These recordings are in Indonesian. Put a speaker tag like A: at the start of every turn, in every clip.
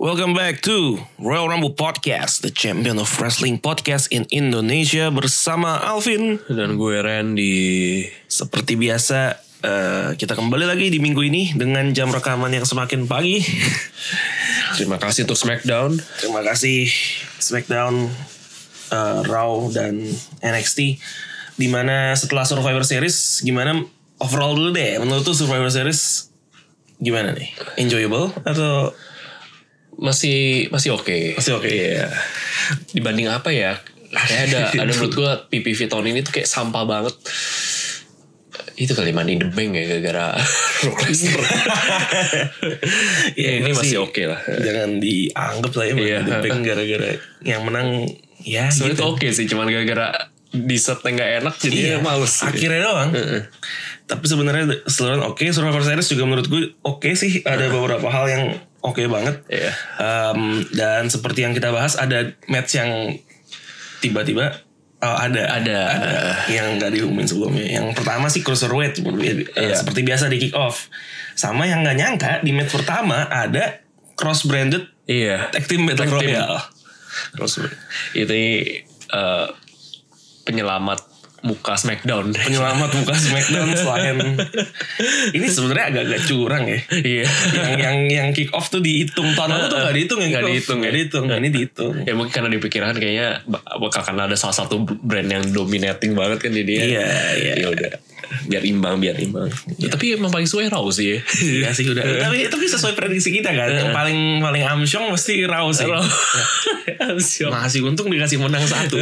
A: Welcome back to Royal Rumble Podcast, the champion of wrestling podcast in Indonesia bersama Alvin.
B: Dan gue Randy.
A: Seperti biasa, eh, kita kembali lagi di minggu ini dengan jam rekaman yang semakin pagi.
B: Terima kasih untuk Smackdown.
A: Terima kasih SmackDown, eh, Raw dan NXT. Dimana setelah Survivor Series, gimana overall dulu deh? Menurut tuh Survivor Series gimana nih? Enjoyable atau
B: Masih masih oke.
A: masih oke?
B: Iya. Dibanding apa ya? Kayak ada ada menurut gue PPV tahun ini tuh kayak sampah banget. Itu kali mandi the bank ya gara-gara Brock Lesnar.
A: Ya,
B: Iya, ini
A: itu sih.
B: masih oke lah.
A: jangan dianggap lah ya
B: Eh. Iya.
A: yeah. gara-gara yang menang ya
B: Sebenarnya
A: gitu.
B: tuh oke sih, cuman gara-gara di set yang gak enak jadi
A: Iya,
B: males.
A: Akhirnya doang. Tapi sebenarnya seluruhnya oke. Survivor Series juga menurut gue oke sih. Ada beberapa hal yang oke banget.
B: Iya.
A: Em, dan seperti yang kita bahas ada match yang tiba-tiba oh, ada.
B: Ada.
A: yang nggak diumumin sebelumnya. Yang pertama sih Cruiserweight seperti, eh,
B: Iya.
A: seperti biasa di kick off. Sama yang nggak nyangka di match pertama ada cross branded
B: Iya.
A: tag team battle
B: Tag team.
A: royale.
B: Terus itu eh, penyelamat muka Smackdown.
A: penyelamat muka Smackdown selain ini sebenarnya agak-agak curang ya.
B: Iya.
A: Yang yang yang kick off tuh dihitung tahun lalu tuh gak dihitung yang
B: Nggak
A: kick off.
B: dihitung ya.
A: Nggak dihitung. Ini dihitung.
B: ya mungkin karena dipikiran kayaknya bak- bakal karena ada salah satu brand yang dominating banget kan jadi ya
A: Iya, iya.
B: ya udah biar imbang biar imbang tapi emang paling suwe raw sih ya
A: Ya sih udah. tapi tapi sesuai prediksi kita kan. Yang paling paling amsyong mesti Raw sih. Ya.
B: raw siap
A: Masih untung dikasih menang satu.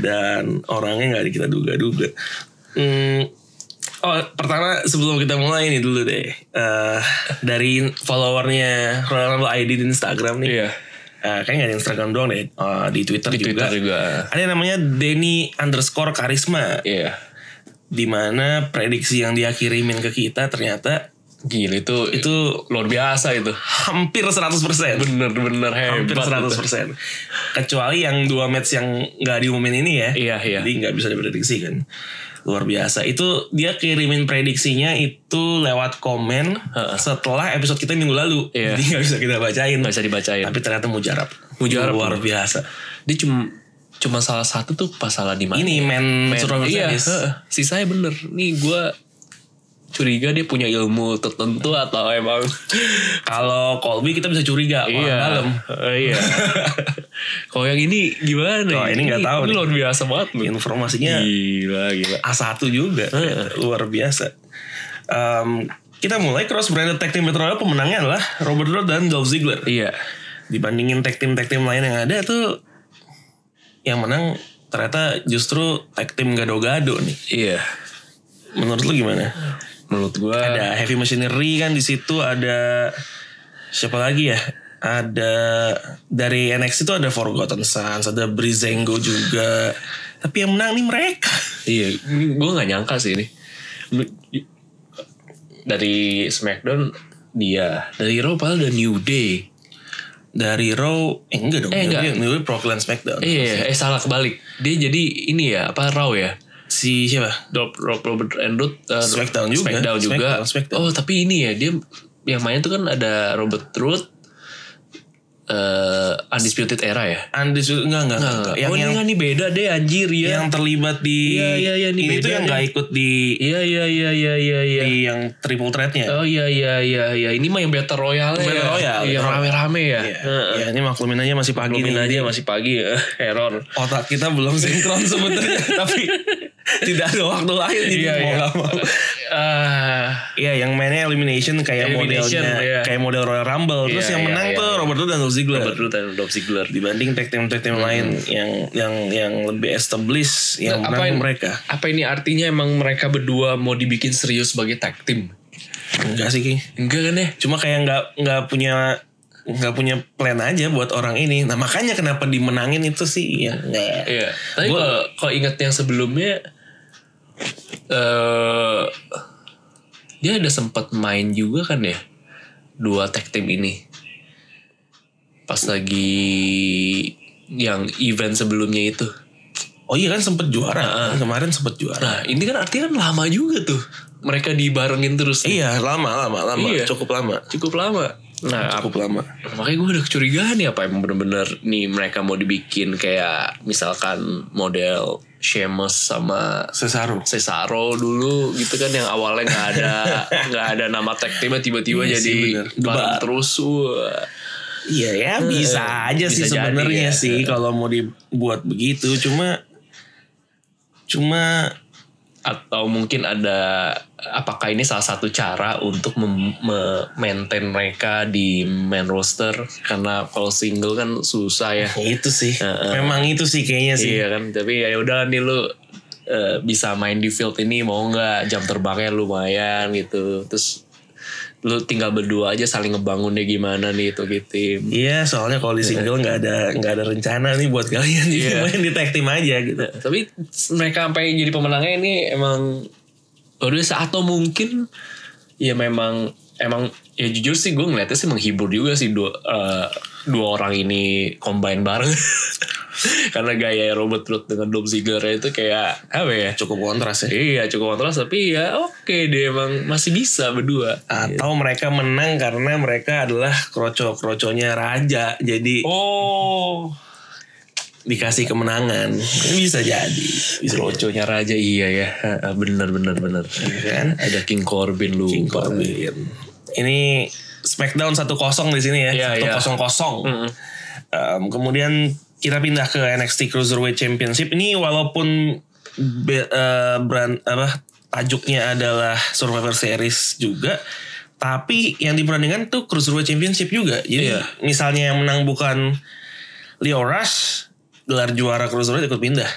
A: Dan orangnya nggak kita duga-duga. Hmm, Oh pertama sebelum kita mulai ini dulu deh Eh, dari followernya Royal Rumble ID di Instagram nih
B: iya
A: Eh, kayaknya gak di Instagram doang deh Eh, di Twitter
B: di
A: juga.
B: Twitter juga
A: Ada yang namanya Denny underscore karisma
B: iya
A: Dimana prediksi yang dia kirimin ke kita ternyata
B: gila itu itu
A: itu
B: luar biasa itu
A: hampir 100%
B: bener-bener
A: Hampir
B: hebat
A: 100% Kecuali yang dua match yang gak diumumin ini ya
B: Iya, iya.
A: Jadi gak bisa diprediksi kan Luar biasa Itu dia kirimin prediksinya itu lewat komen Setelah episode kita minggu lalu
B: Iya.
A: Jadi gak bisa kita bacain
B: nggak bisa dibacain
A: Tapi ternyata mujarab
B: Mujarab.
A: Luar biasa
B: dia cuma cuma salah satu tuh pas salah di mana
A: Ini men,
B: Men,
A: Survivor
B: iya,
A: Series.
B: heeh. sisanya bener. Nih gue curiga dia punya ilmu tertentu atau emang
A: Kalau Colby kita bisa curiga
B: Iya.
A: orang dalam.
B: Eh, iya. Kalau yang ini gimana? ya?
A: Wah, ini nggak tahu
B: Ini
A: nih. Iya.
B: luar biasa banget. men.
A: Informasinya
B: Gila gila.
A: A1 juga. Luar biasa. Em, kita mulai cross branded tag team battle royale pemenangnya adalah Robert Roode dan Dolph Ziggler.
B: Iya.
A: Dibandingin tag team tag team lain yang ada tuh yang menang ternyata justru tag team gado-gado nih.
B: Iya.
A: Menurut lu gimana?
B: Menurut gue
A: Ada Heavy Machinery kan di situ ada siapa lagi ya? Ada dari NXT itu ada Forgotten Sons, ada Brizengo juga. Tapi yang menang nih mereka.
B: Iya, gue nggak nyangka sih ini. Dari SmackDown dia, dari Raw padahal udah New Day.
A: Dari Raw, eh enggak dong.
B: Eh,
A: New
B: enggak.
A: Day- New Day Brooklyn SmackDown.
B: Iya, eh salah kebalik. Dia jadi ini ya, apa Raw ya?
A: Si siapa?
B: Rob, Rob Robert Enroth uh,
A: Smackdown juga.
B: Smackdown juga.
A: Smackdown, Smackdown.
B: Oh tapi ini ya dia yang main tuh kan ada Robert Root, eh Undisputed Era ya.
A: Andi Su- enggak enggak. enggak, enggak. Yang
B: oh
A: yang,
B: ini kan nih beda deh anjir ya.
A: yang terlibat di
B: Iya, iya, iya, ini
A: ini
B: beda
A: tuh yang
B: nih.
A: enggak ikut di
B: Iya iya iya iya iya iya.
A: di yang triple threat-nya.
B: Oh iya iya iya iya ini mah yang Battle Royale
A: Battle
B: ya.
A: Royale.
B: Iya rame-rame ya.
A: Iya. Ya, ini maklumin aja masih pagi nih.
B: Gini aja masih pagi ya. error.
A: otak kita belum sinkron sebenarnya tapi tidak ada waktu lain jadi
B: Iya,
A: mau
B: iya.
A: nggak mau
B: Ah,
A: iya yang mainnya elimination kayak
B: Elimination,
A: modelnya
B: iya.
A: kayak model Royal Rumble terus
B: Iya,
A: yang
B: iya,
A: menang
B: iya,
A: tuh
B: iya.
A: Robert Hmm. Roode dan Dolph Ziggler
B: Robert Root dan Dolph Ziggler.
A: dibanding tag team tag team lain yang yang yang lebih established yang
B: Nah,
A: menang
B: ini-
A: mereka
B: Apa ini artinya emang mereka berdua mau dibikin serius sebagai tag team?
A: enggak sih Ki.
B: Enggak kan ya?
A: cuma kayak nggak nggak punya nggak punya plan aja buat orang ini nah makanya kenapa dimenangin itu sih ya nggak
B: Iya. Tapi kalau kalau ingat yang sebelumnya eh dia ada sempat main juga kan ya dua tag team ini. Pas lagi yang event sebelumnya itu.
A: oh iya kan sempet juara kemarin sempet juara
B: Nah, ini kan artinya kan lama juga tuh. Mereka dibarengin terus. nih.
A: iya lama lama lama
B: Iya.
A: cukup lama
B: Cukup lama. Nah,
A: cukup lama.
B: makanya gue udah kecurigaan ya apa emang bener-bener nih mereka mau dibikin kayak misalkan model Sheamus sama
A: Cesaro.
B: Cesaro dulu gitu kan yang awalnya nggak ada nggak ada nama tag team tiba-tiba
A: Iya
B: jadi
A: sih, bener.
B: bareng
A: Debat.
B: terus wah.
A: Iya ya bisa
B: Eh,
A: aja sih
B: bisa jadi
A: sebenarnya
B: ya.
A: sih kalau mau dibuat begitu cuma cuma
B: atau mungkin ada apakah ini salah satu cara untuk mem- me- maintain mereka di main roster karena kalau single kan susah ya
A: ya itu sih
B: Heeh.
A: memang itu sih kayaknya sih
B: Iya kan, tapi ya udah nih lu eh, bisa main di field ini mau nggak jam terbangnya lumayan gitu. Terus lu tinggal berdua aja saling ngebangunnya gimana nih itu gitu.
A: Iya, soalnya kalau di single nggak ada nggak ada rencana nih buat kalian jadi
B: Eh. Iya. Eh.
A: main di tag team aja gitu.
B: Tapi mereka sampai jadi pemenangnya ini emang luar biasa atau mungkin ya memang emang ya jujur sih gue ngeliatnya sih menghibur juga sih dua eh, dua orang ini combine bareng karena gaya Robert Root dengan Dom Ziggler itu kayak apa ya
A: Cukup kontras ya.
B: Iya cukup kontras tapi ya oke dia emang masih bisa berdua.
A: Atau mereka menang karena mereka adalah kroco-kroconya raja, jadi
B: Oh,
A: dikasih kemenangan. Bisa jadi, bisa jadi.
B: lucunya raja iya ya Ha, bener bener bener.
A: kan?
B: Ada King Corbin lu.
A: King
B: Iya.
A: Corbin. Ini Smackdown 1-0 di sini ya,
B: Iya,
A: satu
B: iya.
A: 1-0. Em, kemudian kita pindah ke NXT Cruiserweight Championship. Ini walaupun be- eh, brand apa tajuknya adalah Survivor Series juga, tapi yang diperandingkan tuh Cruiserweight Championship juga. Jadi
B: Iya.
A: misalnya yang menang bukan Leo Rush, gelar juara Cruiserweight ikut pindah.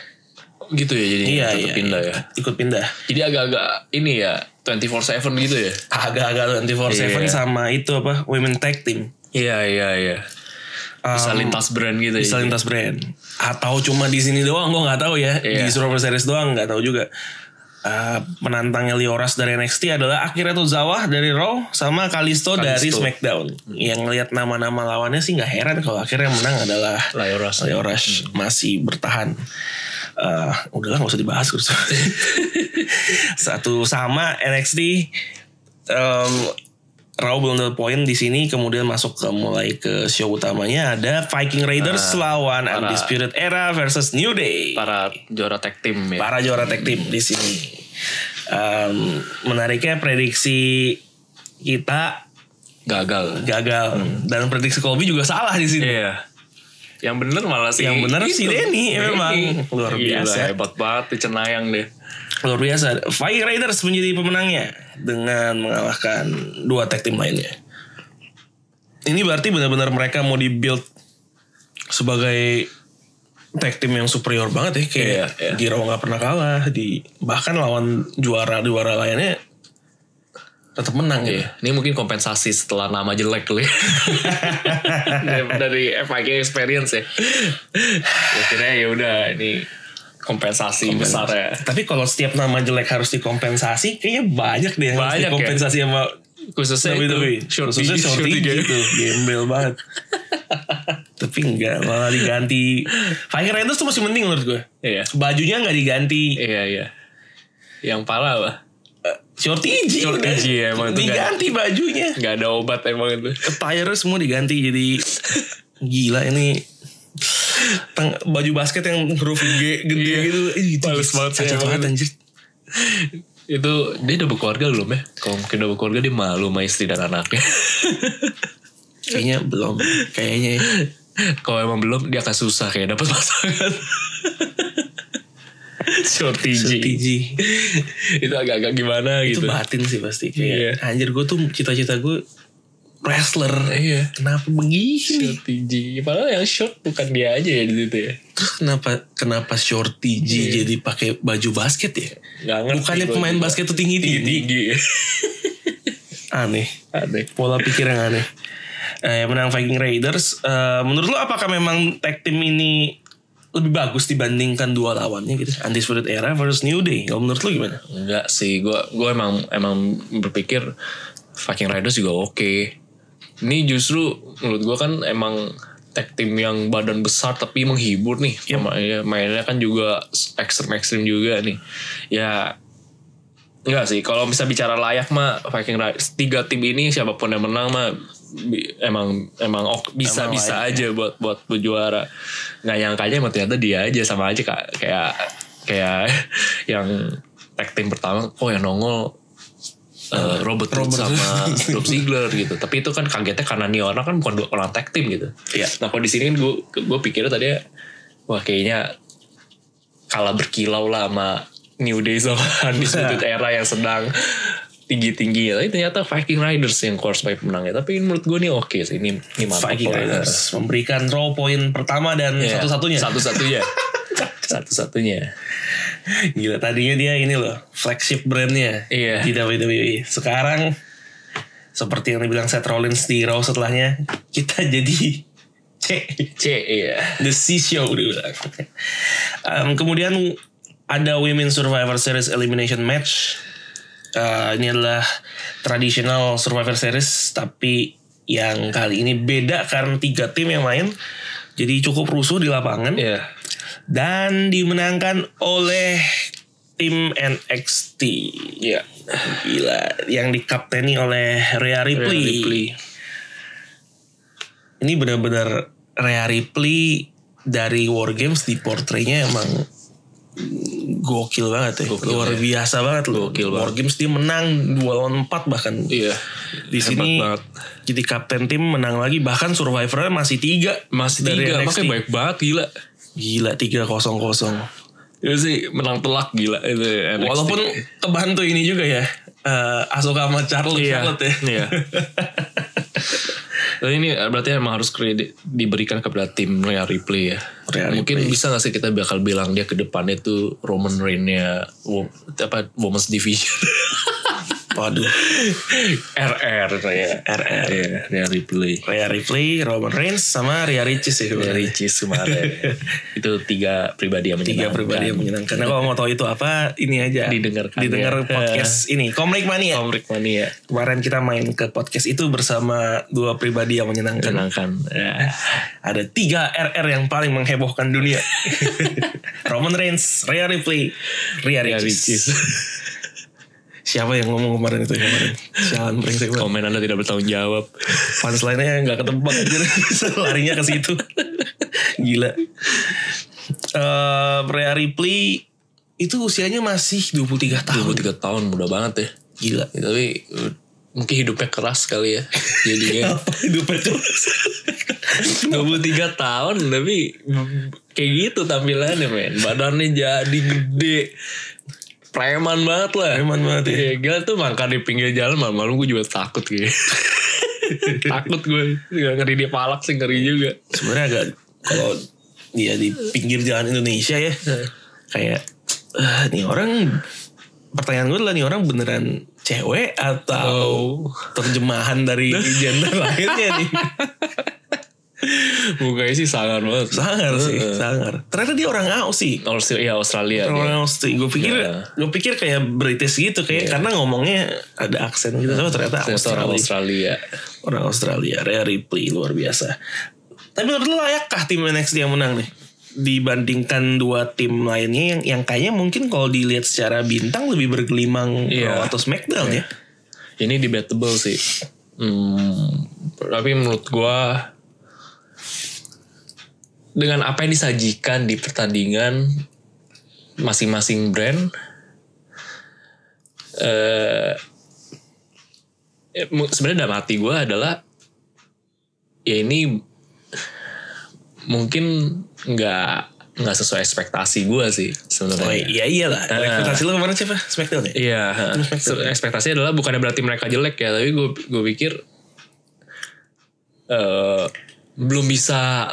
B: Gitu ya jadi
A: Iya,
B: tetap
A: iya,
B: pindah
A: iya.
B: ya.
A: Ikut pindah.
B: Jadi agak-agak ini ya 24/7 gitu ya.
A: Agak-agak 24/7
B: Iya.
A: sama itu apa Women Tag Team.
B: Iya iya iya. Bisa lintas brand gitu
A: bisa
B: ya.
A: lintas brand atau cuma di sini doang gue nggak tahu ya di
B: Iya.
A: Survivor Series doang nggak tahu juga Eh, penantangnya Lioras dari NXT adalah Akira Tozawa dari Raw sama Kalisto, dari
B: Kalisto.
A: SmackDown yang lihat nama-nama lawannya sih nggak heran kalau akhirnya yang menang adalah
B: Layoras.
A: Lioras masih bertahan Eh, udahlah nggak usah dibahas Gus. satu sama NXT em, Raw belum dapat poin di sini kemudian masuk ke mulai ke show utamanya ada Viking Raiders lawan
B: para-
A: Undisputed Era versus New Day
B: Para juara tag team ya.
A: para juara tag team di sini Em, menariknya prediksi kita
B: Gagal.
A: gagal dan prediksi Colby juga salah di sini
B: Iya. Yang bener malah sih
A: Yang bener si
B: itu.
A: Denny, memang. Luar
B: Gila,
A: biasa.
B: hebat banget tuh cenayang deh.
A: luar biasa Fire Raiders menjadi pemenangnya dengan mengalahkan dua tag team lainnya ini berarti benar-benar mereka mau dibuild sebagai tag team yang superior banget ya kayak
B: Iya, iya.
A: di Raw nggak pernah kalah di bahkan lawan juara juara lainnya tetap menang ya
B: Iya, ini mungkin kompensasi setelah nama jelek kali. dari, dari FIG experience ya. Akhirnya ya udah ini kompensasi besar ya.
A: tapi kalau setiap nama jelek harus dikompensasi kayaknya banyak deh yang harus
B: Banyak ya?
A: dikompensasi sama
B: Khususnya
A: Tapi
B: itu,
A: tapi
B: short
A: khususnya
B: video,
A: short
B: short
A: video
B: video.
A: gitu, gembel banget. tapi enggak malah diganti. Viking Raiders tuh masih penting menurut gue.
B: Iya.
A: Bajunya nggak diganti.
B: Iya, iya. Yang parah lah.
A: Eh, Short IG
B: Short
A: udah.
B: IG ya, emang itu
A: diganti bajunya.
B: Gak ada obat emang itu.
A: Attire semua diganti jadi gila ini Teng- baju basket yang huruf G gede
B: Iya.
A: gitu. Ih, itu
B: Males banget sih
A: kacau
B: emang
A: banget
B: itu.
A: anjir.
B: Itu dia udah berkeluarga belum ya? Kalau mungkin udah berkeluarga dia malu sama istri dan anaknya.
A: Kayaknya belum. Kayaknya ya.
B: Kalau emang belum dia akan susah kayak dapat pasangan. Short
A: Short
B: TG.
A: IG.
B: itu agak-agak gimana
A: itu
B: gitu.
A: batin sih pasti
B: Iya.
A: kayak anjir gue tuh cita-cita gue wrestler
B: Iya.
A: kenapa begini
B: Short TG. Padahal yang short bukan dia aja ya di situ ya.
A: terus kenapa kenapa shorty G
B: Iya. gitu.
A: jadi pakai baju basket ya
B: Gak ngerti.
A: bukannya
B: gua
A: pemain
B: juga.
A: basket tuh tinggi tinggi
B: tinggi-tinggi.
A: aneh
B: ya. Aneh.
A: pola pikir yang aneh nah, yang menang Viking Raiders eh, menurut lo apakah memang tag team ini lebih bagus dibandingkan dua lawannya gitu Undisputed Era versus New Day kalau menurut lo gimana
B: Enggak sih, gue gua emang emang berpikir Viking Riders juga oke. Ini justru menurut gue kan emang tag team yang badan besar tapi menghibur nih. Sama- ya, mainnya kan juga ekstrim-ekstrim juga nih. Ya Enggak sih, kalau bisa bicara layak mah Viking Riders tiga tim ini siapapun yang menang mah bi- emang emang ok- bisa
A: Emang
B: bisa
A: layak, ya.
B: aja buat buat buat juara nggak nyangkanya emang ternyata dia aja sama aja kak kayak kayak yang tag team pertama oh yang nongol eh, Robert, Root sama Dolph Ziggler gitu tapi itu kan kagetnya karena nih orang kan bukan dua orang tag team gitu
A: Iya.
B: nah kalau di sini kan gue gue pikirnya tadi wah kayaknya kalah berkilau lah sama New Day sama Undisputed Era yang sedang tinggi-tinggi. Tapi ternyata Viking Riders yang core sebagai pemenangnya. Tapi menurut gue nih oke sih. Ini, ini mantap.
A: Viking
B: lah.
A: Riders memberikan raw point pertama dan
B: Iya.
A: satu-satunya.
B: Satu-satunya. Satu-satunya.
A: Gila tadinya dia ini loh flagship brandnya
B: Iya.
A: di WWE. Sekarang seperti yang dibilang Seth Rollins di Raw setelahnya kita jadi C
B: C iya.
A: The C Show dibilang. kemudian ada Women Survivor Series Elimination Match. Eh, ini adalah traditional Survivor Series tapi yang kali ini beda karena tiga tim yang main. Jadi cukup rusuh di lapangan
B: Iya.
A: dan dimenangkan oleh tim NXT.
B: Iya.
A: Gila, yang dikapteni oleh Rhea Ripley.
B: Rhea Ripley.
A: Ini benar-benar Rhea Ripley dari War Games di portraynya emang gokil banget ya.
B: Gokil,
A: Luar
B: ya.
A: biasa banget loh.
B: Gokil
A: War Games dia menang 2 lawan 4 bahkan.
B: Iya.
A: Di sini
B: banget.
A: jadi kapten tim menang lagi bahkan survivornya masih 3.
B: Masih tiga. Makanya baik banget gila.
A: Gila 3-0-0.
B: Itu sih menang telak gila. Itu ya, NXT.
A: Walaupun kebantu ini juga ya. eh Asuka sama Charlotte,
B: Iya.
A: Charlotte ya.
B: Iya. Tapi ini eh, berarti emang harus kredit diberikan kepada tim Rhea Ripley ya.
A: Rhea
B: Mungkin bisa gak sih kita bakal bilang dia ke depannya itu Roman Reigns-nya wo- apa Women's Division
A: Waduh.
B: RR ya.
A: RR.
B: Iya, Rhea Ripley.
A: Rhea Ripley, Roman Reigns, sama Rhea Ricis ya.
B: Rhea
A: sebenarnya.
B: Ricis kemarin. itu tiga pribadi
A: Tiga
B: yang menyenangkan.
A: pribadi yang menyenangkan. Nah, kalau mau tahu itu apa, ini aja.
B: kan. Didengarkan
A: Didengar
B: ya.
A: podcast ini. Komrik Mania.
B: Komrik mania
A: Kemarin kita main ke podcast itu bersama dua pribadi yang menyenangkan.
B: menyenangkan. Ya.
A: Ada tiga RR yang paling menghebohkan dunia. Roman Reigns, Rhea Ripley, Rhea
B: Rhea
A: Ricis.
B: Ricis.
A: Siapa yang ngomong kemarin itu kemarin? Sialan brengsek banget.
B: Komen Anda tidak bertanggung jawab.
A: punchline-nya nggak ketebak anjir. larinya ke situ gila Eh Rhea Ripley itu usianya masih 23 tahun
B: 23 tahun muda banget ya.
A: gila
B: Ya, tapi uh, mungkin hidupnya keras kali ya jadinya
A: hidupnya terus
B: 23 tahun tapi kayak gitu tampilannya men badannya jadi gede preman banget lah
A: Preman banget ya.
B: Iya, gila tuh mangkar di pinggir jalan malam-malam gue juga takut gitu takut gue Nggak ngeri dia palak sih ngeri juga
A: sebenarnya agak kalau dia di pinggir jalan Indonesia ya kayak eh, nih orang pertanyaan gue adalah nih orang beneran cewek atau
B: oh
A: terjemahan dari gender lainnya nih
B: mukanya sih sangar banget
A: sangar sih sangar ternyata dia orang Aussie
B: Australia, iya, Australia dia.
A: orang Austin gue pikir
B: Iya.
A: gue pikir kayak British gitu kayak karena ngomongnya ada aksen gitu tapi ternyata Australia
B: Ternyata orang Australia
A: orang Australia Rhea Ripley luar biasa tapi menurut lo layakkah tim NXT yang menang nih dibandingkan dua tim lainnya yang yang kayaknya mungkin kalau dilihat secara bintang lebih bergelimang
B: Iya.
A: Raw atau SmackDown ya
B: ini debatable sih. Hmm, tapi menurut gua dengan apa yang disajikan di pertandingan masing-masing brand eh eh, mu- sebenarnya dalam hati gua adalah ya ini mungkin nggak nggak sesuai ekspektasi gua sih sebenarnya.
A: Oh iya iyalah.
B: Ah.
A: Ekspektasi lo kemarin siapa? Smackdown ya?
B: Iya, ekspektasinya adalah bukannya berarti mereka jelek ya, tapi gue gue pikir eh belum bisa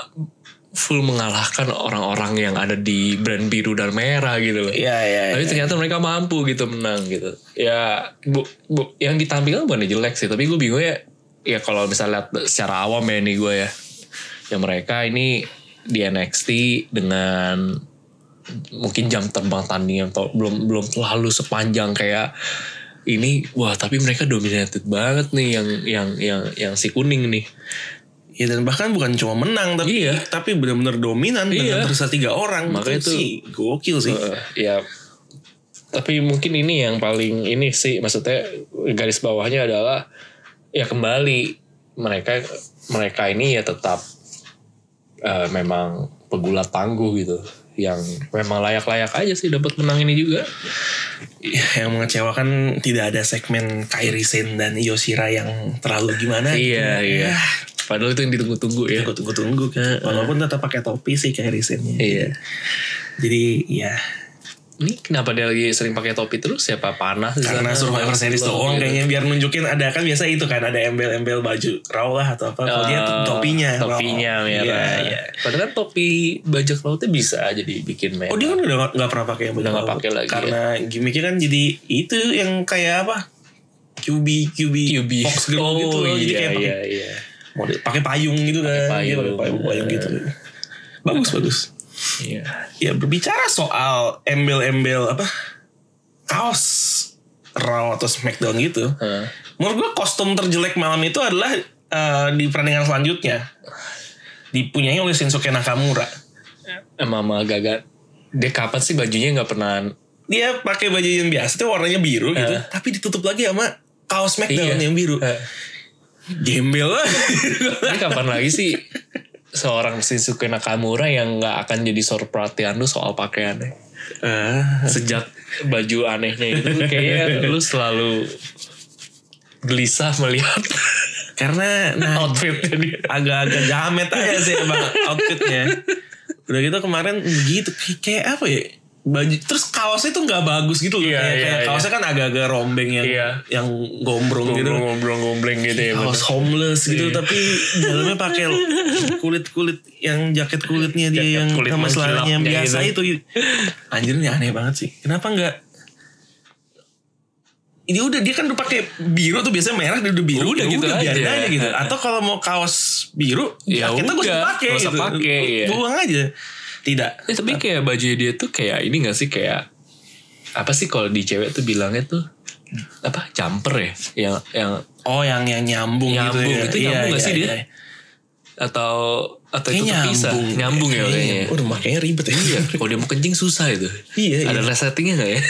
B: full mengalahkan orang-orang yang ada di brand biru dan merah gitu loh.
A: Iya iya.
B: Tapi
A: iya.
B: ternyata mereka mampu gitu menang gitu. Ya, bu, bu- yang ditampilkan bukan jelek sih, tapi gue bingung ya. Ya kalau misalnya lihat secara awam ya ini gue ya, ya mereka ini di NXT dengan mungkin jam terbang tanding yang to- belum belum terlalu sepanjang kayak ini wah tapi mereka dominated banget nih yang yang yang yang si kuning nih
A: Iya, dan bahkan bukan cuma menang tapi
B: Iya.
A: tapi benar-benar dominan
B: Iya.
A: dengan tersisa tiga orang.
B: Makanya itu-
A: sih gokil sih.
B: Eh, ya tapi mungkin ini yang paling ini sih maksudnya garis bawahnya adalah ya kembali mereka mereka ini ya tetap eh, memang pegulat tangguh gitu yang memang layak-layak aja sih dapat menang ini juga
A: Iya, yang mengecewakan tidak ada segmen Kairi Sen dan Yoshira yang terlalu gimana gitu.
B: iya iya
A: Ah.
B: padahal itu yang ditunggu-tunggu ya
A: gue tunggu-tunggu gitu. walaupun tetap pakai topi sih Kairi Sennya
B: iya
A: jadi ya
B: ini kenapa dia lagi sering pakai topi terus siapa panas di
A: karena
B: sana?
A: Survivor Series
B: Panas
A: doang
B: gitu.
A: kayaknya biar nunjukin ada kan biasa itu kan ada embel-embel baju raw lah atau apa kalau dia
B: Eh,
A: topinya raw.
B: topinya merah
A: Iya, iya.
B: padahal kan topi bajak lautnya bisa jadi bikin merah
A: Oh dia kan udah gak, nggak pernah pakai yang
B: Udah nggak
A: berbau.
B: pakai lagi, iya.
A: Karena gimmicknya kan jadi itu yang kayak apa QB QB,
B: QB
A: Fox Girl gitu loh. Jadi kayak pakai
B: Oh, iya, iya.
A: model pakai payung gitu kan.
B: Pakai
A: Dia
B: payung.
A: pakai payung, payung gitu. Bagus bagus.
B: Iya.
A: Ya berbicara soal embel-embel apa kaos Raw atau Smackdown gitu.
B: Hah.
A: Menurut gue kostum terjelek malam itu adalah eh, di pertandingan selanjutnya dipunyai oleh Shinsuke Nakamura.
B: Eh, Mama Gaga dia kapan sih bajunya nggak pernah
A: dia pakai baju yang biasa itu warnanya biru gitu
B: Eh.
A: tapi ditutup lagi sama kaos Smackdown
B: Iya.
A: yang biru
B: Eh,
A: gembel lah
B: ini kapan lagi sih seorang Shinsuke Nakamura yang nggak akan jadi sor perhatian lu soal pakaiannya Eh. sejak baju anehnya itu kayaknya lu selalu gelisah melihat
A: karena nah
B: outfitnya dia
A: agak-agak jamet
B: Iya.
A: aja sih emang outfitnya udah gitu kemarin begitu kayak, kayak apa ya baju terus kaosnya tuh nggak bagus gitu loh
B: Iya,
A: kayak,
B: iya,
A: kayak
B: iya.
A: kaosnya kan agak-agak rombeng yang
B: Iya.
A: yang gombrong gitu Oh,
B: ngobrol-ngobrol gitu ya
A: kaos homeless
B: Iya.
A: gitu tapi dalamnya pakai kulit kulit yang jaket kulitnya dia
B: Jaket
A: yang
B: kulit
A: sama
B: mengkilapnya
A: celananya yang biasa
B: gitu.
A: itu anjir ini aneh banget sih kenapa nggak ini udah dia kan udah pakai biru tuh biasanya merah dia udah biru
B: Udah
A: ya
B: gitu aja.
A: biarin aja gitu atau kalau mau kaos biru
B: Ya
A: jaketnya gue
B: udah,
A: pakai
B: nggak usah
A: gitu
B: pakai, iya.
A: buang aja tidak
B: Eh, tapi kayak baju dia tuh kayak ini gak sih kayak apa sih kalau di cewek tuh bilangnya tuh apa jumper ya yang yang
A: oh yang yang nyambung, gitu
B: Nyambung,
A: ya
B: itu nyambung nggak sih dia? atau atau itu
A: Kayaknya
B: terpisah
A: nyambung Iya.
B: nyambung ya kayaknya
A: Waduh makanya ribet ya
B: iya kalau dia mau kencing susah itu
A: Iya,
B: ada resettingnya nggak ya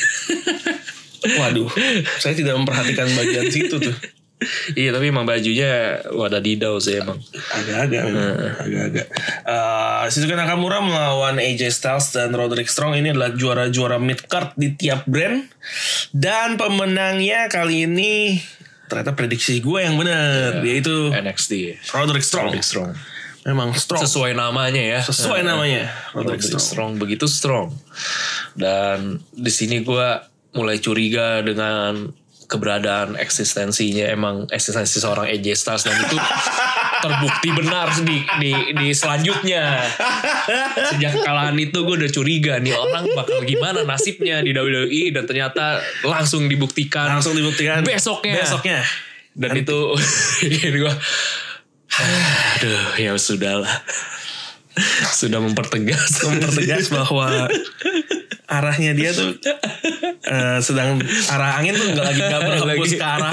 A: Waduh, saya tidak memperhatikan bagian situ tuh.
B: iya tapi emang bajunya wadah didau sih emang
A: Agak-agak, memang. agak-agak. Eh, Shinsuke Nakamura melawan AJ Styles dan Roderick Strong ini adalah juara-juara mid card di tiap brand dan pemenangnya kali ini ternyata prediksi gue yang benar yaitu
B: NXT
A: Iya. Roderick Strong.
B: Big Strong
A: Memang strong
B: sesuai namanya ya
A: sesuai namanya Roderick
B: Roderick strong.
A: Strong.
B: begitu strong dan di sini gua mulai curiga dengan keberadaan eksistensinya emang eksistensi seorang AJ Styles dan itu terbukti benar di di di selanjutnya sejak kekalahan itu gue udah curiga nih orang bakal gimana nasibnya di WWE dan ternyata langsung dibuktikan
A: Langsung dibuktikan
B: Besoknya.
A: Besoknya.
B: dan itu ini gua aduh ya sudahlah sudah mempertegas
A: mempertegas bahwa arahnya dia tuh eh, sedang arah angin tuh nggak lagi nggak berhembus
B: Lagi.
A: ke arah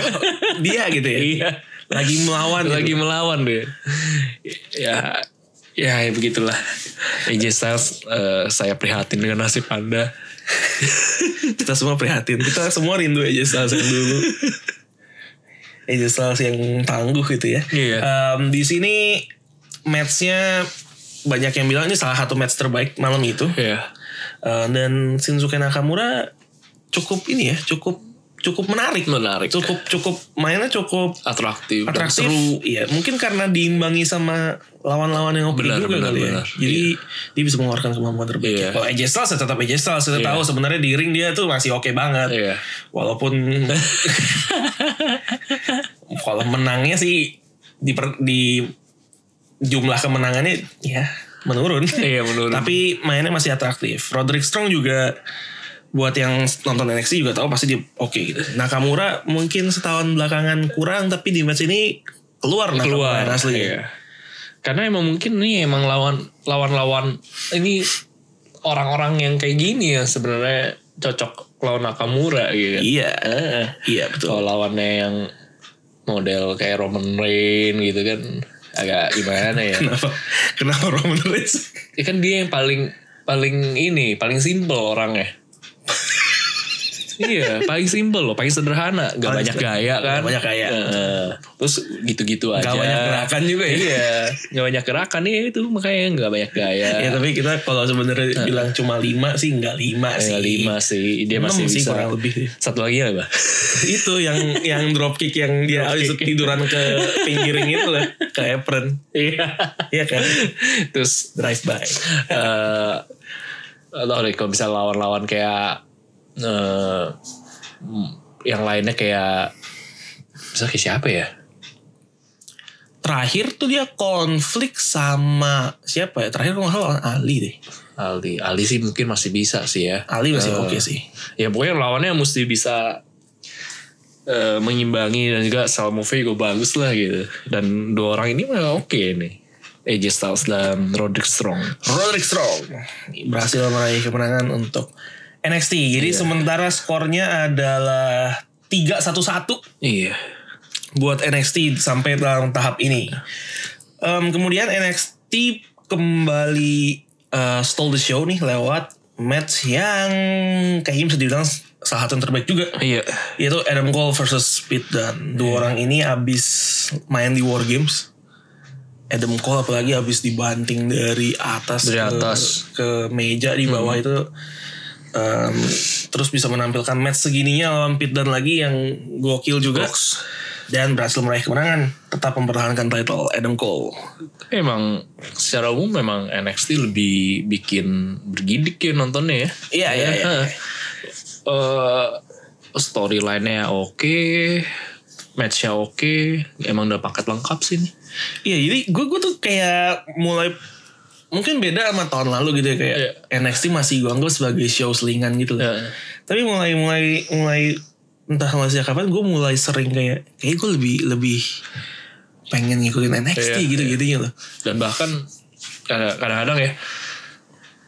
A: dia gitu ya
B: Iya.
A: lagi melawan
B: lagi
A: gitu.
B: melawan deh ya ya, ya begitulah AJ Styles eh, saya prihatin dengan nasib anda
A: kita semua prihatin kita semua rindu aja Styles yang dulu AJ Styles yang tangguh gitu ya
B: Iya.
A: Em, di sini matchnya banyak yang bilang ini salah satu match terbaik malam itu
B: ya
A: Eh, dan Shinsuke Nakamura cukup ini ya cukup cukup menarik
B: Menarik.
A: cukup cukup mainnya cukup
B: atraktif dan
A: atraktif
B: seru
A: iya mungkin karena diimbangi sama lawan-lawan yang oke
B: Benar,
A: juga
B: benar,
A: kali ya
B: benar.
A: jadi dia bisa mengeluarkan kemampuan terbaiknya
B: Iya.
A: kalau AJ Styles ya tetap AJ Styles kita
B: Iya.
A: tahu sebenarnya di ring dia tuh masih oke banget
B: Iya.
A: walaupun kalau menangnya sih di, per- di jumlah kemenangannya ya menurun
B: Iya, menurun.
A: tapi mainnya masih atraktif Roderick Strong juga buat yang nonton NXT juga tahu pasti dia oke gitu. Nakamura mungkin setahun belakangan kurang tapi di match ini keluar
B: keluar
A: Nakamura aslinya.
B: Iya. karena emang mungkin nih emang lawan lawan lawan ini orang-orang yang kayak gini ya sebenarnya cocok lawan Nakamura gitu kan.
A: Iya.
B: Eh.
A: Iya betul.
B: kalau lawannya yang model kayak Roman Reign gitu kan agak gimana ya
A: Kenapa? Kenapa Roman Reigns?
B: ya kan dia yang paling paling ini paling simple orangnya iya, paling simple loh, paling sederhana, gak
A: Paling
B: banyak gaya kan.
A: Gak banyak gaya.
B: Heeh. terus gitu-gitu aja.
A: Gak banyak gerakan juga ya.
B: Iya, gak banyak gerakan ya itu makanya gak banyak gaya.
A: Ya tapi kita kalau sebenarnya bilang cuma lima sih nggak lima sih.
B: Tanggal Iya. lima sih, dia
A: Enam
B: masih
A: sih
B: bisa.
A: kurang lebih.
B: Satu lagi apa?
A: itu yang yang drop kick yang dia habis tiduran ke pinggiring itu lah ke apron.
B: Iya.
A: Iya kan?
B: Terus
A: Drive by.
B: eh atau deh kalau bisa lawan-lawan kayak eh mm, yang lainnya kayak bisa kayak siapa ya?
A: Terakhir tuh dia konflik sama siapa ya? Terakhir kalau nggak salah lawan Ali deh.
B: Ali, Ali sih mungkin masih bisa sih ya.
A: Ali masih
B: Eh,
A: oke sih.
B: Ya pokoknya lawannya mesti bisa eh, mengimbangi dan juga style move-nya juga bagus lah gitu. Dan dua orang ini mah oke nih. AJ Styles dan Roderick Strong.
A: Roderick Strong berhasil meraih kemenangan untuk NXT. Jadi sementara skornya adalah 3-1-1
B: Iya.
A: buat NXT sampai dalam tahap ini. Em, kemudian NXT kembali eh, stole the show nih lewat match yang kayaknya bisa dibilang salah satu yang terbaik juga
B: Iya.
A: yaitu Adam Cole versus Pete Dunne. Dua orang ini abis main di War Games. Adam Cole apalagi abis dibanting dari atas Hmm.
B: Dari
A: ke-
B: atas.
A: ke, meja di bawah itu Em, terus bisa menampilkan match segininya lawan Pete Dunne lagi yang gokil juga dan berhasil meraih kemenangan tetap mempertahankan title Adam Cole.
B: Emang secara umum memang NXT lebih bikin bergidik ya nontonnya ya.
A: Iya, iya, iya.
B: Eh, Storyline-nya oke, match-nya oke, emang udah paket lengkap sih nih.
A: Iya jadi gue gue tuh kayak mulai mungkin beda sama tahun lalu gitu ya kayak
B: Iya.
A: NXT masih gue anggap sebagai show selingan gitu. loh.
B: Iya.
A: Tapi mulai mulai mulai entah mulai sejak kapan gue mulai sering kayak kayak gue lebih lebih pengen ngikutin NXT
B: Iya,
A: gitu gitunya loh.
B: Dan bahkan kad- kadang-kadang ya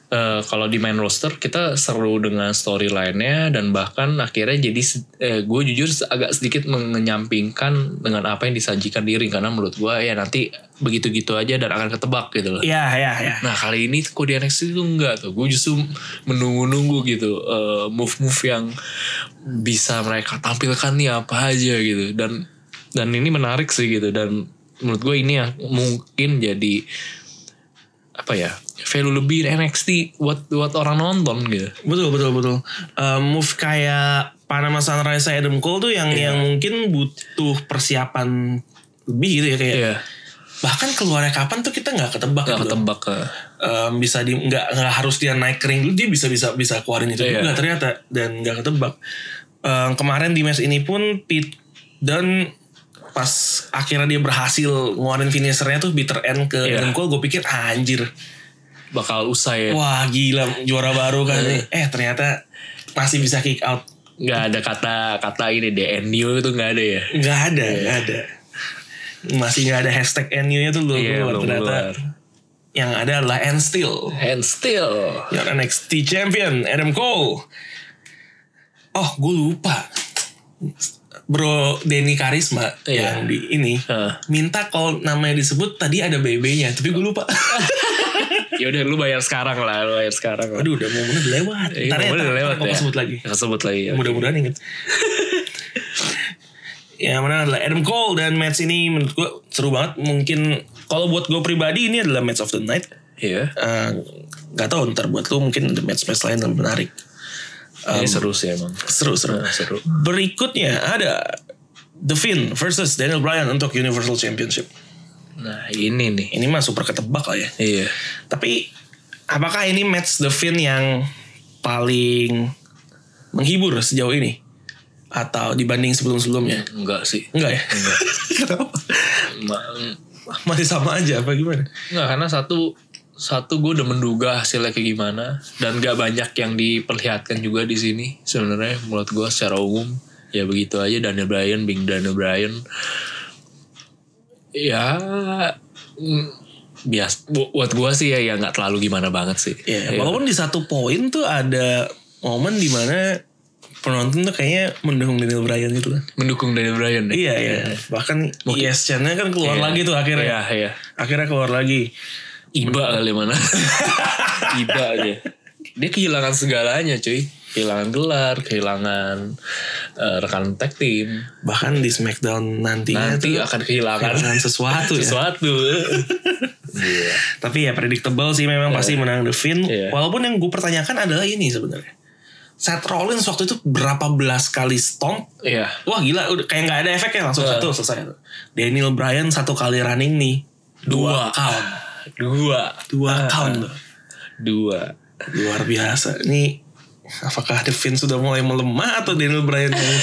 B: eh, kalau di main roster kita seru dengan storyline-nya dan bahkan akhirnya jadi se- eh, gue jujur se- agak sedikit menyampingkan dengan apa yang disajikan di ring karena menurut gue ya nanti begitu-gitu aja dan akan ketebak gitu loh.
A: Iya iya iya.
B: Nah kali ini kok di NXT itu enggak tuh Gue justru menunggu-nunggu gitu eh, Move-move yang bisa mereka tampilkan nih apa aja gitu Dan dan ini menarik sih gitu Dan menurut gue ini yang mungkin jadi Apa ya Value lebih NXT buat, buat orang nonton gitu
A: Betul betul betul. Eh, move kayak Panama Sunrise Adam Cole tuh yang
B: Iya.
A: yang mungkin butuh persiapan lebih gitu ya kayak
B: Iya
A: bahkan keluarnya kapan tuh kita nggak ketebak
B: Gak
A: gitu loh.
B: ketebak ke
A: Em, bisa di nggak nggak harus dia naik kering dulu dia bisa bisa bisa keluarin itu
B: Iya.
A: juga ternyata dan nggak ketebak Em, kemarin di match ini pun Pete dan pas akhirnya dia berhasil ngeluarin finishernya tuh bitter end ke
B: Iya.
A: Adam Cole gue pikir "Ah, anjir
B: Bakal usai ya
A: wah gila juara baru kan nih eh
B: Iya.
A: ternyata masih bisa kick out
B: Gak ada kata-kata ini deh NU itu gak ada ya
A: nggak ada nggak ada masih nggak ada hashtag NU nya tuh belum
B: Iya,
A: keluar
B: belum
A: ternyata
B: keluar.
A: yang ada adalah end still
B: And still
A: Your NXT Champion Adam Cole. Oh, gue lupa. Bro Denny Karisma
B: Iya.
A: yang di ini
B: Hah.
A: minta kalau namanya disebut tadi ada BB-nya, tapi gue lupa.
B: ya udah lu bayar sekarang lah lu bayar sekarang lah.
A: Waduh, udah mau udah lewat.
B: Iya,
A: Ntar ya,
B: boleh
A: ntar-
B: lewat
A: ntar gua
B: ya.
A: sebut lagi.
B: Kita sebut lagi. ya.
A: Mudah-mudahan inget. ya mana adalah Adam Cole dan match ini menurut gue seru banget. Mungkin kalau buat gue pribadi ini adalah match of the night.
B: Iya.
A: Eh, Gak tau ntar buat lu mungkin ada match-match lain lebih menarik.
B: Ini
A: Um.
B: seru sih emang.
A: Seru seru.
B: Nah, seru.
A: Berikutnya ada The Finn versus Daniel Bryan untuk Universal Championship.
B: Nah ini nih.
A: Ini mah super ketebak lah ya.
B: Iya.
A: Tapi apakah ini match The Finn yang paling menghibur sejauh ini? Atau dibanding sebelum-sebelumnya?
B: Enggak sih.
A: Enggak ya? Kenapa?
B: Ma-
A: Masih sama aja apa gimana?
B: Enggak karena satu satu gue udah menduga hasilnya kayak gimana dan gak banyak yang diperlihatkan juga di sini sebenarnya menurut gue secara umum ya begitu aja Daniel Bryan Bing Daniel Bryan ya mm, bias bu- buat gue sih ya ya nggak terlalu gimana banget sih
A: Ya,
B: Ya.
A: walaupun di satu poin tuh ada momen dimana penonton tuh kayaknya mendukung Daniel Bryan gitu kan.
B: mendukung Daniel Bryan deh.
A: Iya, iya. Bahkan ESCN-nya kan keluar
B: Iya.
A: lagi tuh akhirnya.
B: Iya, iya.
A: akhirnya keluar lagi
B: Iba kali mana. Iba aja. Dia kehilangan segalanya cuy. kehilangan gelar, kehilangan eh, rekan tag team.
A: Bahkan di Smackdown nantinya
B: Nanti
A: Iya, tuh
B: akan kehilangan
A: kehilangan Kan? sesuatu ya.
B: sesuatu. Iya.
A: Tapi ya predictable sih memang pasti menang The Finn.
B: Iya.
A: Walaupun yang gue pertanyakan adalah ini sebenarnya. Seth Rollins waktu itu berapa belas kali stomp?
B: Iya.
A: Wah gila, udah kayak nggak ada efeknya langsung
B: Iya.
A: satu selesai. Daniel Bryan satu kali running nih dua,
B: Dua.
A: count,
B: Dua.
A: dua count loh.
B: Dua.
A: Luar biasa. Ini apakah The Finn sudah mulai melemah atau Daniel Bryan yang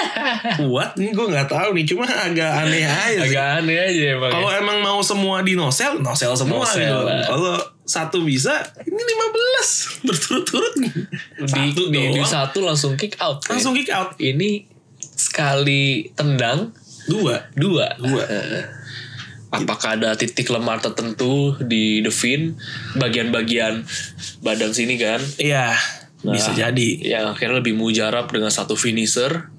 A: kuat? Ini gue nggak tahu nih. Cuma agak aneh aja. Iya sih.
B: Agak aneh aja emang. ya.
A: Kalau emang mau semua di nosel, nosel semua
B: Nosel
A: gitu.
B: lah.
A: Kalau satu bisa, ini 15 berturut-turut.
B: Di,
A: Satu
B: di, di
A: doang,
B: satu langsung kick out. ya.
A: langsung kick out
B: Ini sekali tendang
A: dua.
B: dua.
A: Dua.
B: Eh, Apakah ada titik lemah tertentu di The Fin bagian-bagian badan sini kan?
A: Iya, bisa jadi
B: Yang akhirnya lebih mujarab dengan satu finisher.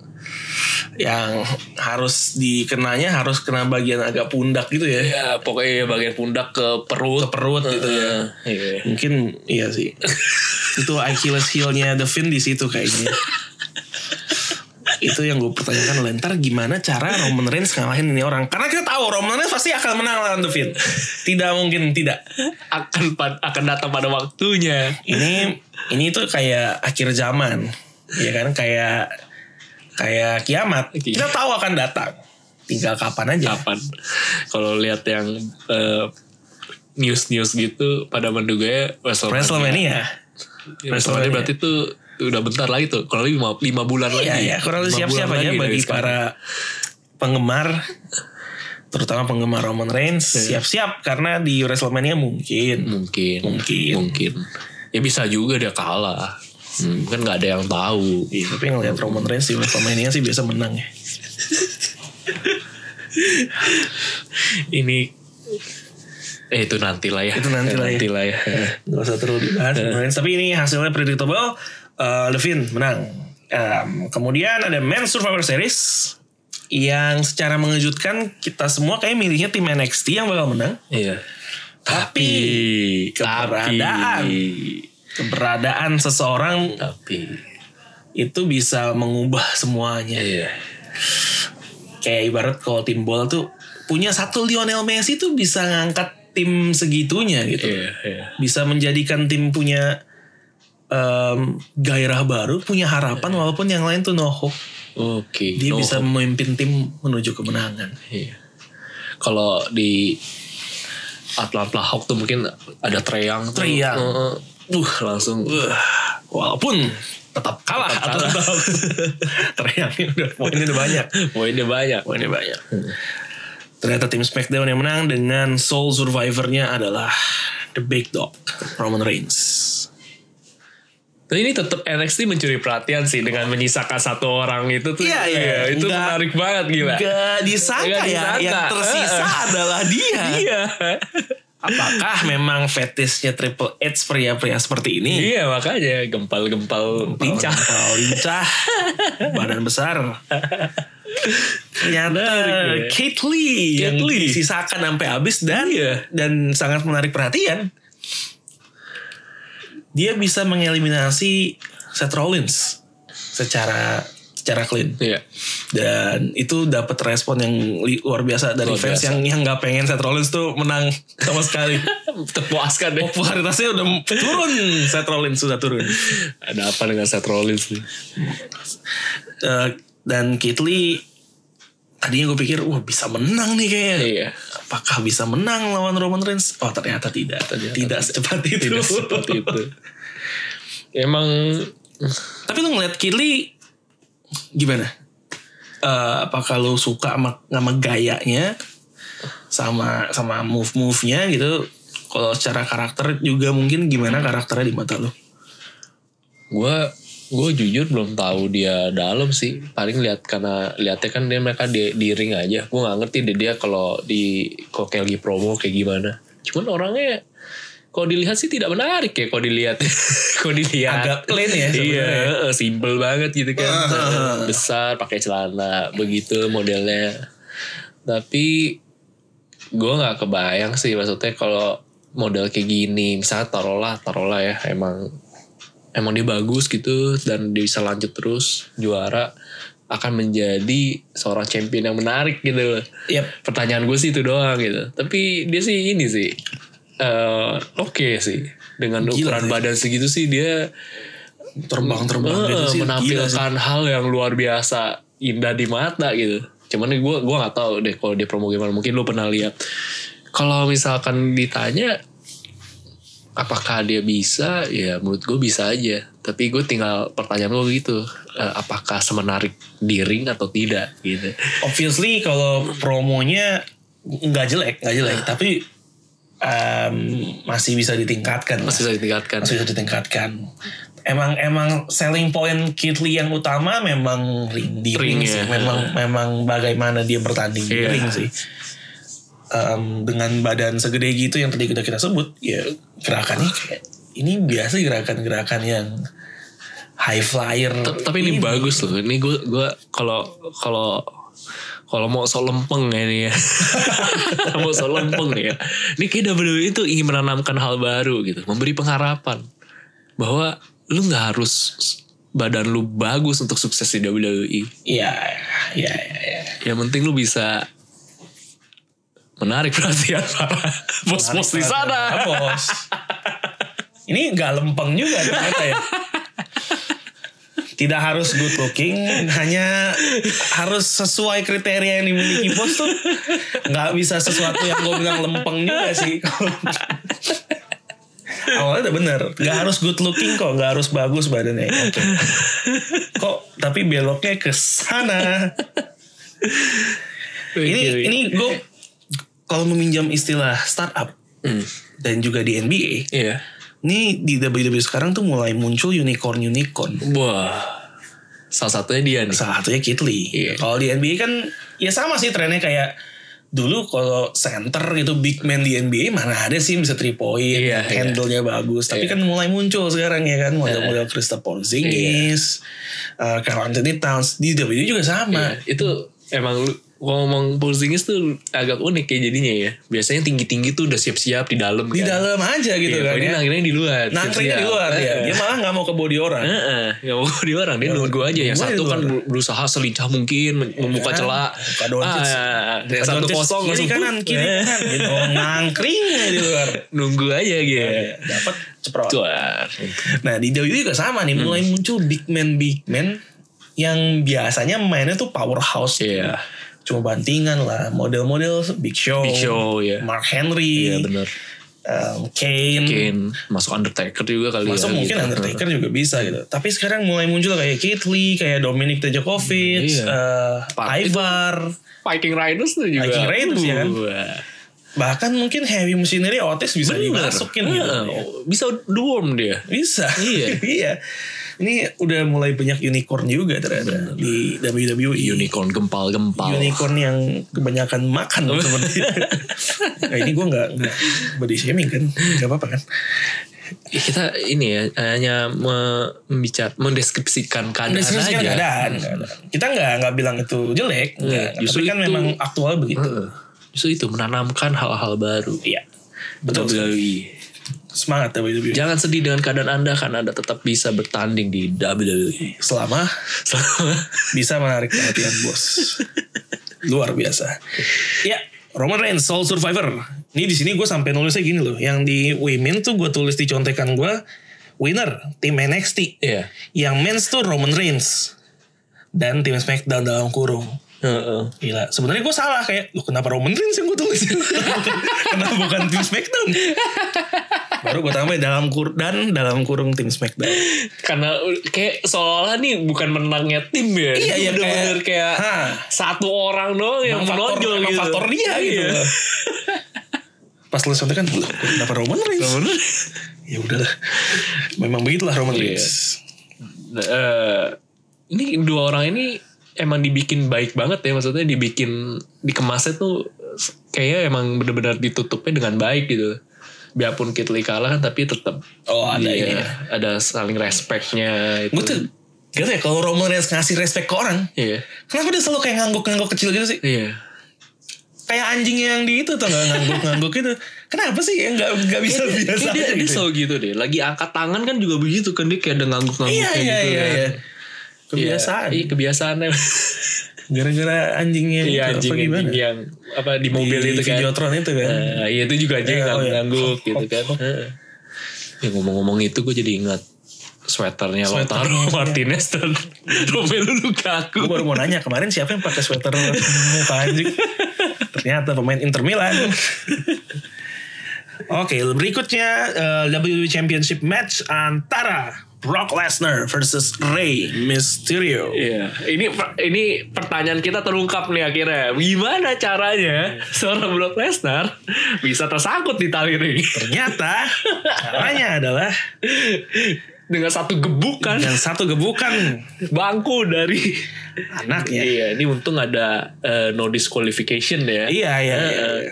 A: yang harus dikenanya harus kena bagian agak pundak gitu ya.
B: Ya pokoknya bagian pundak ke perut. Ke perut
A: gitu ya.
B: Iya.
A: Mungkin iya sih. itu Achilles heel-nya The Finn di situ kayaknya. itu yang gue pertanyakan lentar gimana cara Roman Reigns ngalahin ini orang karena kita tahu Roman Reigns pasti akan menang lawan The Finn tidak mungkin tidak
B: Akan pad- akan datang pada waktunya.
A: ini ini tuh kayak akhir zaman ya kan kayak kayak kiamat
B: Oke.
A: kita tahu akan datang tinggal kapan aja
B: Kapan? Kalau lihat yang eh, news-news gitu pada menduga ya WrestleMania.
A: WrestleMania
B: WrestleMania berarti tuh udah bentar lagi tuh. Kalau lima, lima bulan lagi.
A: Iya ya kurang lebih
B: Lima
A: siap-siap
B: bulan
A: aja
B: lagi dari
A: bagi
B: sekarang.
A: para penggemar terutama penggemar Roman Reigns
B: Iya.
A: siap-siap karena di WrestleMania mungkin
B: mungkin
A: Mungkin.
B: mungkin ya bisa juga dia kalah hmm, kan nggak ada yang tahu
A: Iya, tapi ngelihat Roman Reigns di WrestleMania sih biasa menang ya.
B: ini eh itu nanti lah ya
A: Itu nanti lah ya.
B: nanti lah ya
A: Gak usah terlalu dibahas Roman Reigns. Tapi ini hasilnya predictable. Eh, Levin menang. Em, kemudian ada Men Survivor Series yang secara mengejutkan kita semua kayak milihnya tim NXT yang bakal menang.
B: iya tapi
A: keberadaan. Keberadaan seseorang
B: tapi
A: itu bisa mengubah semuanya.
B: iya
A: kayak ibarat kalau tim bola tuh punya satu Lionel Messi tuh bisa ngangkat tim segitunya gitu.
B: iya iya
A: Bisa menjadikan tim punya em, gairah baru, punya harapan walaupun yang lain tuh no hope.
B: oke
A: Dia
B: No.
A: bisa memimpin tim menuju kemenangan.
B: Iya. kalau di Atlanta Hawk tuh mungkin ada treyang tuh.
A: Treyang.
B: Heeh. uh langsung
A: Wah, walaupun tetap kalah
B: Tetap
A: atau
B: kalah.
A: tetap teriaknya udah poinnya udah banyak.
B: poinnya banyak
A: Poinnya banyak. Ternyata tim SmackDown yang menang dengan sole survivornya adalah The Big Dog Roman Reigns.
B: Tapi ini tetap NXT mencuri perhatian sih dengan menyisakan satu orang itu tuh. Ya,
A: Iya, iya.
B: itu
A: Nggak-
B: menarik banget gila.
A: Gak disangka
B: Nggak
A: ya
B: disangka.
A: yang tersisa
B: Heeh.
A: adalah dia.
B: Iya.
A: Apakah memang fetisnya Triple H pria-pria seperti ini?
B: iya makanya gempal-gempal lincah.
A: Orang tua lincah, badan besar.
B: Menarik
A: Ternyata
B: ya.
A: Kate Lee yang
B: Kate Lee.
A: disisakan sampai habis dan
B: Iya.
A: dan sangat menarik perhatian. Dia bisa mengeliminasi Seth Rollins secara secara clean.
B: Iya.
A: dan itu dapat respon yang li- luar biasa dari
B: Luar
A: fans
B: biasa.
A: yang yang nggak pengen Seth Rollins tuh menang sama sekali.
B: Terpuaskan deh.
A: Oh. Popularitasnya udah turun, Seth Rollins sudah turun.
B: Ada apa dengan Seth Rollins nih?
A: Eh, dan Keith Lee tadinya gue pikir wah bisa menang nih kayaknya.
B: Iya.
A: Apakah bisa menang lawan Roman Reigns? Oh ternyata tidak. tidak secepat itu.
B: Tidak seperti itu. Emang
A: Tapi lu ngeliat Keith Lee gimana? Eh, apakah lu suka sama, sama gayanya? Sama sama move-move-nya gitu? Kalau secara karakter juga mungkin gimana karakternya di mata lu?
B: gue gue jujur belum tahu dia dalam sih paling lihat karena lihatnya kan dia mereka di, di ring aja gue nggak ngerti deh dia kalau di kalau kayak lagi promo kayak gimana cuman orangnya kalau dilihat sih tidak menarik ya kalau dilihat kalau dilihat
A: Agak plain ya Ah,
B: iya
A: sebenarnya.
B: eh, simple banget gitu kan besar pakai celana begitu modelnya tapi gue nggak kebayang sih maksudnya kalau model kayak gini misalnya taruhlah taruhlah ya emang emang dia bagus gitu dan dia bisa lanjut terus juara akan menjadi seorang champion yang menarik gitu loh.
A: Yap.
B: Pertanyaan gue sih itu doang gitu. Tapi dia sih ini sih eh, oke sih dengan
A: Gila,
B: ukuran badan segitu sih dia
A: Terbang-terbang gitu
B: eh,
A: sih. gila sih.
B: menampilkan hal yang luar biasa indah di mata gitu. Cuman gue gua nggak tahu deh kalau dia promo gimana. Mungkin lu pernah lihat. Kalau misalkan ditanya apakah dia bisa, ya menurut gue bisa aja. Tapi gue tinggal pertanyaan gue gitu, eh, apakah semenarik di ring atau tidak gitu.
A: Obviously kalau promonya nggak jelek, nggak jelek,
B: Nah.
A: tapi em, masih bisa ditingkatkan. lah.
B: Masih bisa ditingkatkan.
A: masih bisa ditingkatkan. Emang emang selling point Kitli yang utama memang ring di ring,
B: Ring,
A: sih.
B: ya.
A: Memang memang bagaimana dia bertanding di
B: Iya.
A: ring sih. Em, dengan badan segede gitu yang tadi kita kita sebut, ya gerakannya kayak ini biasa gerakan-gerakan yang high flyer.
B: Ta- tapi ini, bagus loh. Ini gue gue kalau kalau kalau mau sok lempeng ya ini ya. mau sok lempeng ya. Ini kayak WWE itu ingin menanamkan hal baru gitu, memberi pengharapan bahwa lu nggak harus badan lu bagus untuk sukses di WWE.
A: Iya, iya, iya. iya.
B: Yang penting lu bisa menarik perhatian para bos-bos di sana.
A: Ah, Bos. Ini nggak lempeng juga ternyata ya. Tidak harus good looking, hanya harus sesuai kriteria yang dimiliki bos tuh. Nggak bisa sesuatu yang gue bilang lempeng juga sih. Awalnya udah bener, nggak harus good looking kok, nggak harus bagus badannya. Oke. Kok tapi beloknya ke sana.
B: Iya. Gitu,
A: Ini
B: ya.
A: ini gue kalau meminjam istilah startup
B: Hmm.
A: dan juga di NBA,
B: Iya.
A: ini di WWE sekarang tuh mulai muncul unicorn-unicorn.
B: Wah. Salah satunya dia nih.
A: Salah satunya Kitli.
B: Iya.
A: Kalau di NBA kan ya sama sih trennya kayak dulu kalau center gitu big man di NBA mana ada sih yang bisa three point,
B: Iya,
A: handle-nya bagus. Tapi kan mulai muncul sekarang ya kan
B: Eh.
A: model-model Kristaps Porzingis, uh, Karl Anthony Towns di WWE juga sama.
B: Iya, itu emang lu kalau ngomong Porzingis tuh agak unik ya jadinya ya. Biasanya tinggi-tinggi tuh udah siap-siap di dalam
A: Di
B: kan.
A: dalam aja gitu
B: Iya,
A: kan.
B: kalau Dia
A: Ya.
B: nangkringnya di luar.
A: Nangkringnya di luar ya. Dia malah nggak mau ke body orang.
B: Heeh, nggak mau di orang dia nunggu aja. Yang
A: Iya, Nunggu di
B: satu kan
A: luar.
B: ber- berusaha selincah mungkin men- membuka
A: kan?
B: celah.
A: Buka Doncic.
B: Ah, yang satu
A: Doncic
B: kosong
A: kiri
B: langsung
A: kanan
B: buk.
A: kiri kanan gitu nangkring aja di luar
B: nunggu aja
A: Iya,
B: gitu.
A: dapat ceprot Hmm.
B: Cuar.
A: nah di WWE juga sama nih mulai muncul big man big man yang biasanya mainnya tuh powerhouse
B: Iya.
A: cuma bantingan lah model-model Big Show,
B: Big Show, ya.
A: Mark Henry
B: Iya benar.
A: um, Kane, iya,
B: Mungkin masuk Undertaker juga kali
A: Masuk
B: ya.
A: mungkin
B: gitu.
A: Undertaker juga bisa gitu. Tapi sekarang mulai muncul kayak Keith Lee, kayak Dominic Dijakovic,
B: Iya.
A: eh,
B: Pak- itu-
A: Ivar,
B: Viking Raiders tuh juga.
A: Viking Raiders, ya kan?
B: Wah.
A: bahkan mungkin heavy machinery Otis bisa
B: Bener.
A: dimasukin gitu.
B: Heeh, Bisa dorm dia.
A: Bisa.
B: Iya.
A: Iya. Ini udah mulai banyak unicorn juga ternyata di WWE.
B: Iya. Unicorn gempal-gempal.
A: Unicorn yang kebanyakan makan seperti itu. nah, ini gue nggak nggak body shaming kan, nggak apa-apa kan?
B: Ya, kita ini ya hanya me- membicara mendeskripsikan keadaan
A: Deskripsikan
B: aja.
A: keadaan. Kita nggak nggak bilang itu jelek, nggak.
B: Iya, justru
A: Tapi kan
B: itu-
A: memang aktual begitu.
B: Heeh. Justru itu menanamkan hal-hal baru.
A: Iya.
B: Betul.
A: Betul. Semangat ya WWE.
B: Jangan sedih dengan keadaan Anda karena Anda tetap bisa bertanding di E. WWE.
A: Selama
B: Selama
A: bisa menarik perhatian bos. Luar biasa. Ya, Roman Reigns Soul Survivor. Ini di sini gue sampai nulisnya gini loh. Yang di Women tuh gue tulis di contekan gue winner tim NXT.
B: Iya.
A: Yang men's tuh Roman Reigns dan tim SmackDown dalam kurung.
B: Heeh.
A: Gila, sebenarnya gue salah kayak, lu kenapa Roman Reigns yang gue tulis? kenapa bukan tim SmackDown? Baru gue tambahin dalam kur dan dalam kurung tim SmackDown.
B: Karena kayak seolah-olah nih bukan menangnya tim ya.
A: Iya, iya,
B: bener-bener kayak,
A: kayak- Hah.
B: satu orang doang yang
A: Emang faktor,
B: menonjol
A: emang
B: gitu.
A: faktor dia gitu.
B: Iya.
A: loh. Pas lu sontek kan, "Loh, kenapa Roman Reigns?
B: Bener.
A: Ya udahlah. Memang begitulah Roman
B: Iya.
A: Reigns.
B: eh ini dua orang ini emang dibikin baik banget ya maksudnya dibikin dikemasnya tuh kayaknya emang benar-benar ditutupnya dengan baik gitu biarpun Kitli kalah kan tapi tetap
A: Oh, ada
B: dia-
A: ini ya.
B: ada saling respectnya itu
A: Gue tuh, gitu ya kalau Roman Reigns ngasih respect ke orang,
B: iya
A: kenapa dia selalu kayak ngangguk-ngangguk kecil gitu sih?
B: iya
A: Kayak anjing yang di itu tuh nggak ngangguk-ngangguk gitu. Kenapa sih yang nggak nggak bisa
B: Iya, Kayak dia-
A: biasa
B: kayak dia,
A: aja
B: dia
A: gitu?
B: selalu gitu deh. Lagi angkat tangan kan juga begitu kan dia kayak ada ngangguk-ngangguk
A: Iya
B: kayak
A: iya
B: gitu.
A: iya
B: kan.
A: iya.
B: Iya,
A: Kebiasaan.
B: Iya, kebiasaannya.
A: Gara-gara anjingnya itu
B: Iya
A: apa
B: anjing,
A: gimana?
B: anjing yang apa di mobil
A: Di
B: itu kan.
A: Videotron itu kan.
B: Eh, iya itu juga anjing
A: Eh, oh,
B: ngangguk ngangguk
A: iya.
B: gitu kan. Heeh. Ya ngomong-ngomong itu gue jadi ingat sweaternya
A: Sweater.
B: Lautaro Martinez dan Romelu
A: Gue
B: Lukaku.
A: baru mau nanya kemarin siapa yang pakai sweater muka anjing. Ternyata pemain Inter Milan. Oke, berikutnya eh, WWE Championship match antara Brock Lesnar versus Rey Mysterio.
B: Iya, ini per- ini pertanyaan kita terungkap nih akhirnya. Gimana caranya
A: Iya.
B: seorang Brock Lesnar bisa tersangkut di tali ring?
A: Ternyata caranya adalah
B: dengan satu gebukan
A: yang satu gebukan
B: bangku dari
A: anaknya.
B: iya ini untung ada eh, no disqualification ya
A: Iya iya.
B: Eh,
A: iya.
B: eh, nggak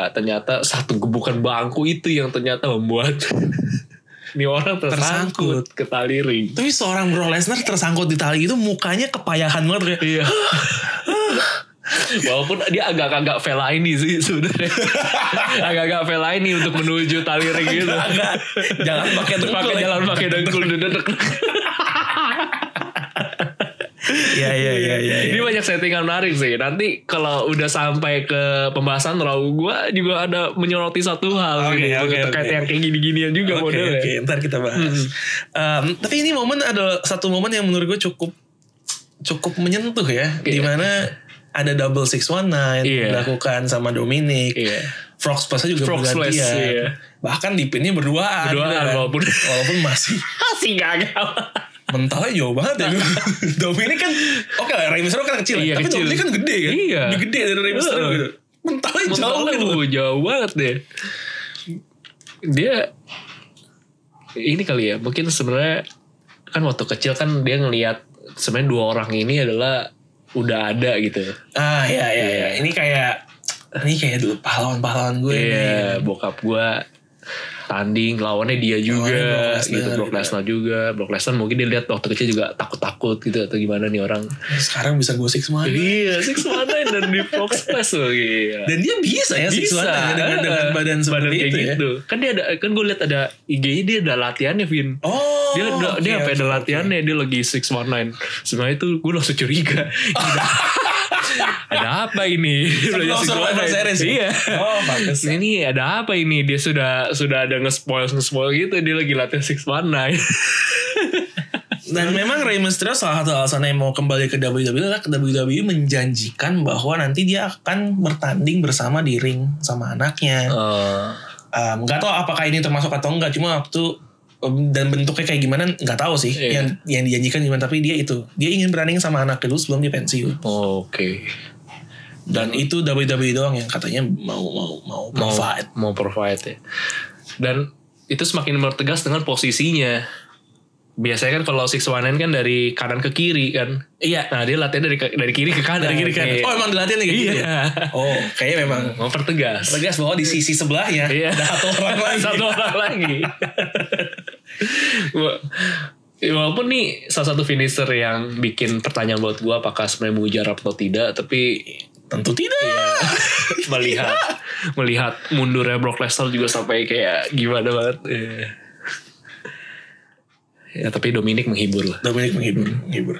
B: Ya, ternyata satu gebukan bangku itu yang ternyata membuat ini orang tersangkut, ke tali ring
A: Tapi seorang Brock Lesnar tersangkut di tali itu mukanya kepayahan banget ya. kayak
B: iya Walaupun dia agak-agak Vela ini sih sebenarnya, agak-agak Vela ini untuk menuju tali ring gitu.
A: Agak, jalan pakai dengkul
B: pakai
A: ya.
B: jalan pakai dengkul, dedek.
A: Iya iya iya iya.
B: Ini banyak settingan menarik sih. Nanti kalau udah sampai ke pembahasan raw gua juga ada menyoroti satu hal
A: Oke,
B: gitu,
A: oke,
B: terkait
A: oke.
B: yang kayak gini-ginian juga
A: Oke,
B: modelnya.
A: oke, ntar kita bahas.
B: Hmm.
A: Em, tapi ini momen ada satu momen yang menurut gue cukup cukup menyentuh ya,
B: Iya.
A: dimana ada double six one nine
B: Iya.
A: dilakukan sama Dominic.
B: Iya.
A: Frog splash juga
B: Frog
A: bergantian.
B: splash, iya.
A: Bahkan di pinnya berduaan.
B: Berduaan,
A: beneran.
B: walaupun-
A: walaupun masih
B: Masih gagal.
A: mentalnya jauh banget ya. Dominic kan oke lah, Rey Mysterio kan kecil.
B: Iya,
A: tapi
B: kecil.
A: Dominic kan gede kan.
B: Iya.
A: Lebih gede dari Rey Mysterio
B: Heeh.
A: gitu. Mentalnya, jauh
B: Mentalnya
A: gitu.
B: jauh, jauh banget deh. Dia ini kali ya, mungkin sebenarnya kan waktu kecil kan dia ngelihat sebenarnya dua orang ini adalah udah ada gitu.
A: Ah iya iya iya. Ini kayak ini kayak dulu pahlawan-pahlawan gue
B: Iya,
A: nih.
B: bokap gua tanding lawannya
A: Lawannya
B: dia juga
A: Brock
B: gitu
A: Lesnar
B: Brock
A: juga.
B: Lesnar juga Brock Lesnar mungkin dia lihat waktu kecil juga takut-takut gitu atau gimana nih orang
A: Eh, Sekarang bisa gue six one.
B: iya six one nine dan di Fox Plus loh iya
A: Dan dia bisa ya six one ya, dengan, dengan badan seperti
B: kayak
A: itu ya.
B: gitu kan dia ada kan gue lihat ada IG-nya dia ada latihannya Vin
A: Oh.
B: dia ada,
A: oke,
B: dia sampai ada
A: oke.
B: latihannya dia lagi six one nine sebenarnya itu gue langsung curiga ada apa ini Dia belajar
A: Sebelum Survivor
B: 619.
A: Series ya?
B: iya
A: Oh, pantes.
B: ini ada apa ini dia sudah sudah ada nge-spoil nge-spoil gitu dia lagi latihan six one nine Nah,
A: Dan memang Rey Mysterio salah satu alasannya mau kembali ke WWE adalah WWE menjanjikan bahwa nanti dia akan bertanding bersama di ring sama anaknya.
B: Oh.
A: Em, nggak tahu apakah ini termasuk atau enggak cuma waktu em, dan bentuknya kayak gimana nggak tahu sih
B: Iya.
A: yang yang dijanjikan gimana tapi dia itu dia ingin bertanding sama anak dulu sebelum dia pensiun
B: Oh, oke
A: dan itu WWE doang yang katanya mau mau mau
B: Iya. mau
A: provide
B: mau provide ya dan itu semakin bertegas dengan posisinya biasanya kan kalau six one nine kan dari kanan ke kiri kan
A: iya
B: nah dia latihan dari ke- dari kiri ke kanan
A: dari kiri kanan
B: Iya.
A: oh emang dilatihan kayak gitu ya
B: iya
A: oh kayaknya memang
B: mempertegas
A: tegas bahwa di sisi sebelahnya
B: Iya.
A: ada satu orang lagi
B: satu orang lagi. Wa- Walaupun nih salah satu finisher yang bikin pertanyaan buat gua apakah sebenarnya mujarab atau tidak, tapi
A: tentu tidak
B: melihat melihat mundurnya Brock Lesnar juga sampai kayak gimana banget. Iya. Ya tapi Dominic menghibur lah.
A: Dominic menghibur, menghibur.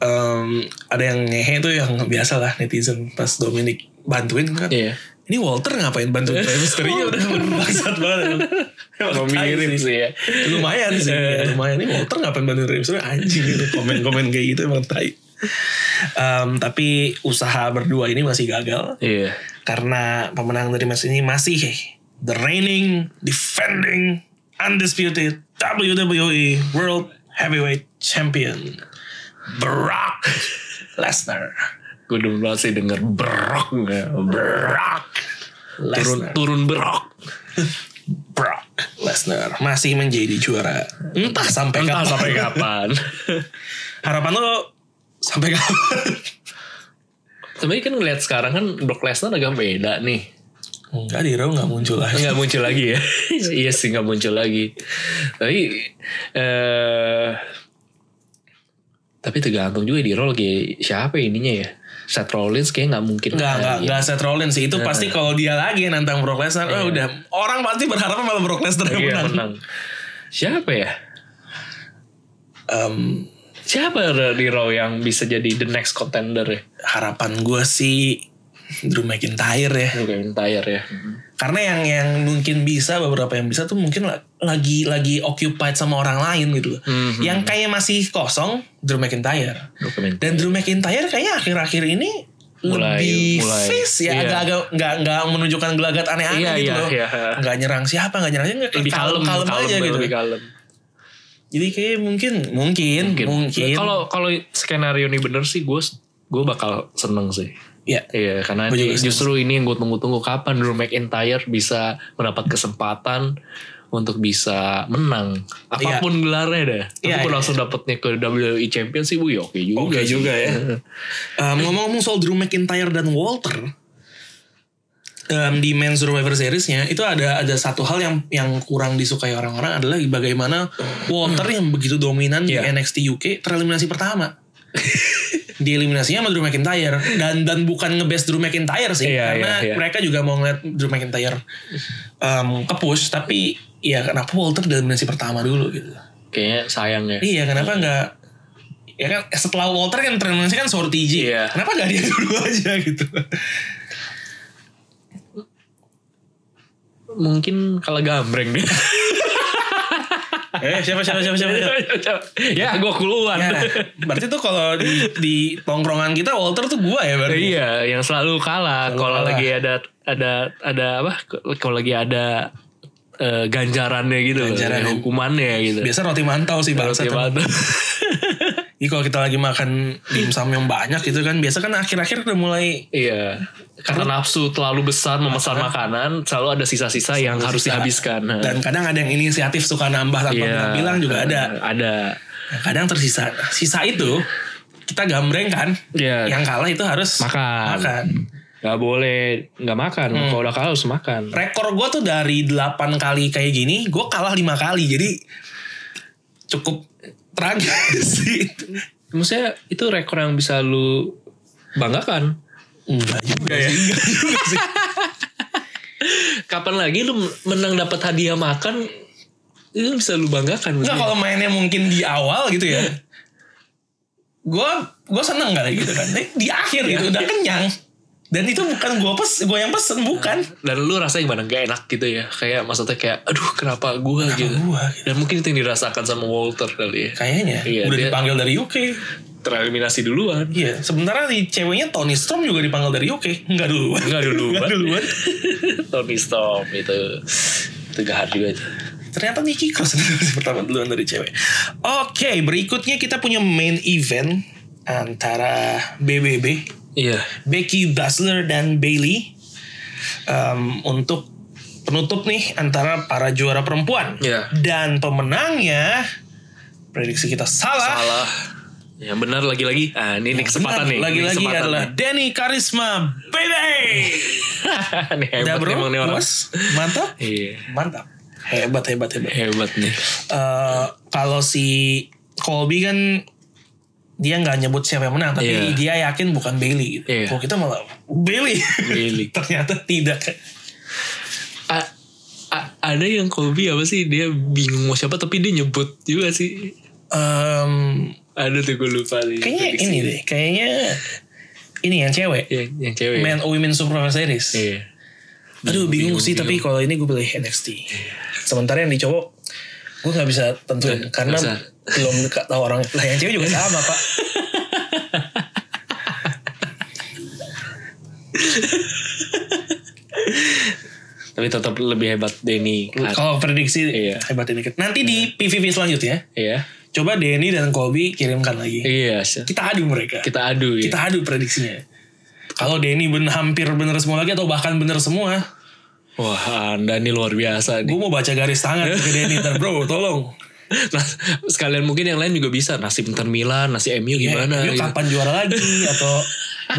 A: Em, ada yang ngehe itu yang biasa lah netizen pas Dominic bantuin kan.
B: Iya.
A: Ini Walter ngapain bantuin Rey Mysterio udah bangsat banget.
B: Emang mirip sih ya.
A: lumayan sih ya, lumayan ini Walter ngapain bantuin Rey Mysterio anjing gitu komen-komen kayak gitu emang tai Em, tapi usaha berdua ini masih gagal
B: Iya.
A: karena pemenang dari match ini masih the reigning defending undisputed WWE World Heavyweight Champion Brock Lesnar
B: Gue udah banget sih denger berok nggak? Berok. Turun
A: Lesnar
B: turun berok.
A: Brock Lesnar masih menjadi juara entah sampai
B: Entah
A: kapan
B: sampai kapan.
A: harapan lo sampai kapan
B: Sebenarnya kan ngeliat sekarang kan Brock Lesnar agak beda nih.
A: Enggak di Raw nggak muncul lagi.
B: Nggak muncul lagi ya. iya sih nggak muncul lagi. Tapi eh tapi tergantung juga di role kayak siapa ininya ya. Seth Rollins kayaknya nggak mungkin.
A: Enggak, enggak,
B: Iya.
A: enggak Seth Rollins sih. Itu pasti kalau dia lagi yang nantang Brock Lesnar, oh udah orang pasti berharap malah Brock Lesnar yang
B: Iya,
A: menang.
B: menang. Siapa ya?
A: Em,
B: Siapa di Raw yang bisa jadi the next contender ya?
A: harapan gue sih Drew McIntyre ya.
B: Drew McIntyre ya.
A: Karena yang yang mungkin bisa beberapa yang bisa tuh mungkin la- lagi lagi occupied sama orang lain gitu loh.
B: Mhm.
A: Yang kayak masih kosong Drew McIntyre.
B: Drew McIntyre.
A: Dan Drew McIntyre kayaknya akhir-akhir ini
B: Mulai-
A: lebih
B: mulai.
A: face ya
B: Iya.
A: agak-agak nggak nggak menunjukkan gelagat aneh-aneh
B: Iya,
A: gitu
B: iya,
A: loh.
B: iya.
A: Nggak nyerang siapa, nggak nyerang siapa,
B: lebih kalem, ya, iya.
A: kalem aja gitu.
B: Lebih kalem.
A: Jadi kayak mungkin mungkin mungkin.
B: Kalau kalau skenario ini bener sih gue gue bakal seneng sih.
A: ya
B: Iya, karena
A: Gua
B: ini-
A: juga seneng.
B: justru ini yang gue tunggu-tunggu kapan Drew McIntyre bisa mendapat kesempatan untuk bisa menang apapun gelarnya dah. Tapi
A: Iya,
B: kalau
A: iya.
B: langsung dapetnya ke WWE Champion sih bu, ya oke juga.
A: Oke
B: sih.
A: juga ya. Um, ngomong-ngomong soal Drew McIntyre dan Walter um, di Men's Survivor Series-nya itu ada ada satu hal yang yang kurang disukai orang-orang adalah bagaimana Walter yang begitu dominan
B: Iya.
A: di NXT UK tereliminasi pertama. Dieliminasinya sama Drew McIntyre dan dan bukan ngebest Drew McIntyre sih
B: Iya,
A: karena
B: iya, iya.
A: mereka juga mau ngeliat Drew McIntyre um, kepush tapi ya kenapa Walter dieliminasi pertama dulu gitu.
B: Kayaknya sayang ya.
A: Iya kenapa nggak Ya kan setelah Walter kan terminasi kan Sortiji
B: Iya.
A: Kenapa nggak dia dulu aja gitu
B: Mungkin kalau gambreng deh.
A: Eh siapa siapa siapa siapa, siapa.
B: ya gue keluar.
A: Ya, berarti tuh kalau di, di tongkrongan kita Walter tuh gua ya berarti
B: Iya, yang selalu kalah.
A: Selalu
B: Kalau
A: kalah.
B: lagi ada ada ada apa? Kalau lagi ada eh, ganjarannya gitu, loh,
A: Ganjarannya.
B: hukumannya gitu.
A: Biasa Iya. roti mantau sih
B: Kalau
A: bangsa
B: tiap ada.
A: Jadi kalau kita lagi makan dimsum yang banyak gitu kan Biasa kan akhir-akhir udah mulai
B: Iya, karena nafsu terlalu besar memesan makanan, selalu ada sisa-sisa yang harus
A: sisa.
B: dihabiskan. Nah,
A: Dan kadang ada yang inisiatif suka nambah tanpa
B: iya.
A: pernah bilang juga ada
B: Ada.
A: Nah, Kadang tersisa Sisa itu kita gambreng kan
B: Iya.
A: Yang kalah itu harus
B: Makan.
A: makan.
B: Gak boleh nggak makan.
A: Hmm.
B: Kalau udah kalah harus makan.
A: rekor gue tuh dari 8 kali kayak gini, gue kalah 5 kali. Jadi cukup tragis sih.
B: Maksudnya itu rekor yang bisa lu banggakan.
A: Enggak juga ya. Enggak juga sih.
B: Kapan lagi lu menang dapat hadiah makan? Itu bisa lu banggakan.
A: Enggak
B: maksudnya.
A: kalau mainnya mungkin di awal gitu ya. Gue gue seneng kali gitu kan. Eh, Di akhir gitu
B: Iya.
A: udah kenyang. Dan itu bukan gue pes, gue yang pesen bukan.
B: dan lu rasanya gimana gak enak gitu ya kayak maksudnya kayak aduh kenapa gua gitu
A: gua gitu.
B: dan mungkin itu yang dirasakan sama Walter kali ya
A: Kayaknya
B: Iya,
A: udah
B: dia-
A: dipanggil dari UK.
B: tereliminasi duluan
A: Iya, sebenarnya di ceweknya Tony Storm juga dipanggil dari UK. Enggak dulu.
B: Enggak duluan.
A: Enggak duluan.
B: Tony Storm itu itu jahat juga itu
A: Ternyata Nikki Cross yang pertama duluan dari cewek. Oke, berikutnya kita punya main event antara BBB,
B: iya
A: Becky Basler dan Bailey untuk penutup nih antara para juara perempuan.
B: Iya.
A: Dan pemenangnya prediksi kita salah.
B: salah yang benar lagi-lagi ah ini, ini
A: Ah.
B: kesempatan
A: Benar,
B: nih
A: Lagi-lagi
B: ini kesempatan
A: adalah Denny Karisma Baby.
B: nih. ini hebat
A: Udah bro,
B: emang nih orang
A: puas? mantap,
B: iya
A: mantap, hebat hebat hebat.
B: hebat nih
A: eh kalau si Colby kan dia nggak nyebut siapa yang menang tapi
B: Iya.
A: dia yakin bukan Bailey gitu.
B: Iya.
A: Kalau kita malah Bailey.
B: Bailey.
A: Ternyata tidak.
B: A- a- ada yang Kobe apa sih dia bingung mau siapa tapi dia nyebut juga sih
A: Em,
B: ada tuh gue lupa nih
A: kayaknya
B: prediksi.
A: ini deh, kayaknya ini yang cewek.
B: Iya, yang cewek
A: Men Women Survivor Series.
B: Iya.
A: Aduh bingung,
B: Bingung, Iya.
A: sih tapi kalau ini gue pilih NXT. Sementara yang di cowok gue nggak bisa tentuin karena
B: bisa.
A: belum dekat tahu orang. Lah yang cewek juga sama pak.
B: Tapi tetap lebih hebat Denny.
A: Kalau prediksi
B: Kan. Iya.
A: hebat ini. Nanti di PVP selanjutnya
B: Iya.
A: Coba Denny dan Kobe kirimkan lagi.
B: Iya. Syah.
A: Kita adu mereka. Kita,
B: Kita adu ya.
A: adu prediksinya. Kalau Denny ben hampir bener semua lagi atau bahkan bener semua,
B: Wah, Anda nih luar biasa nih.
A: gue mau baca garis tangan ke Denny ntar bro, tolong.
B: Nah, sekalian mungkin yang lain juga bisa. Nasi Inter Milan, nasi MU
A: Ya,
B: gimana
A: yuk
B: gitu.
A: kapan juara lagi atau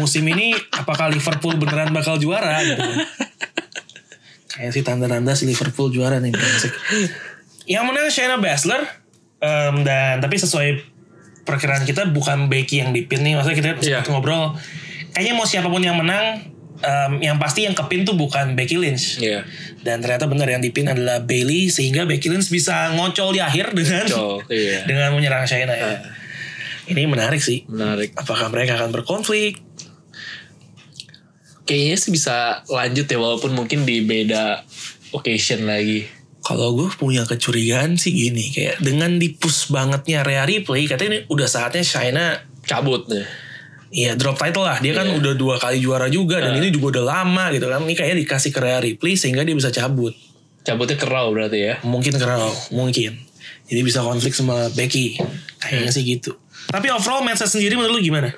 A: musim ini apakah Liverpool beneran bakal juara? Gitu. Kayak sih tanda-tanda si Liverpool juara nih. brengsek. Yang menang Shayna Baszler Em, dan tapi sesuai perkiraan kita bukan Becky yang dipin nih. Maksudnya kita
B: Iya.
A: sempat ngobrol kayaknya mau siapapun yang menang em, yang pasti yang kepin tuh bukan Becky Lynch
B: Iya.
A: dan ternyata benar yang dipin adalah Bailey sehingga Becky Lynch bisa ngocol di akhir dengan
B: Col, iya.
A: dengan menyerang Shayna ya. Ini menarik sih.
B: Menarik.
A: Apakah mereka akan berkonflik?
B: Kayaknya sih bisa lanjut ya walaupun mungkin di beda occasion lagi.
A: Kalau gue punya kecurigaan sih gini kayak dengan dipus bangetnya Rhea Ripley katanya ini udah saatnya Shayna
B: Cabut nih.
A: ya drop title lah dia kan
B: Iya. Ah.
A: udah dua kali juara juga dan ini juga udah lama gitu kan ini kayaknya dikasih ke Rhea Ripley sehingga dia bisa cabut
B: Cabutnya kerau berarti ya.
A: mungkin karena mungkin jadi bisa konflik sama Becky
B: Hmm.
A: kayaknya sih gitu tapi overall matchnya sendiri menurut lu gimana?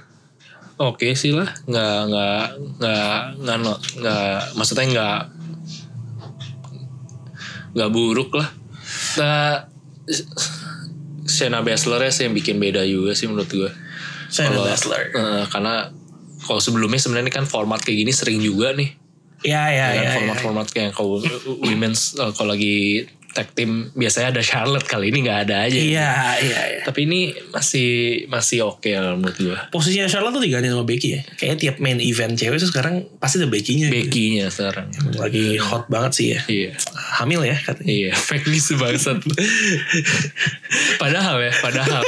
B: Oke sih lah, nggak nggak nggak nggak no- nggak maksudnya nggak nggak buruk lah. Nah, Shayna Baszler ya sih yang bikin beda juga sih menurut gue.
A: Shayna
B: Kalau-
A: Baszler
B: Eh, karena kalau sebelumnya sebenarnya ini kan format kayak gini sering juga nih.
A: ya ya
B: Kan
A: ya, ya,
B: format-format kayak yang kalau women's eh, kalau lagi tag team biasanya ada Charlotte kali ini nggak ada aja.
A: iya iya iya
B: Tapi ini masih masih oke lah menurut gue.
A: posisinya Charlotte tuh diganti sama Becky ya kayaknya tiap main event cewek tuh sekarang pasti ada Becky-nya gitu.
B: Becky-nya sekarang.
A: lagi hot banget sih ya
B: Iya.
A: hamil ya katanya
B: Iya, fake news bangsat. padahal ya, padahal.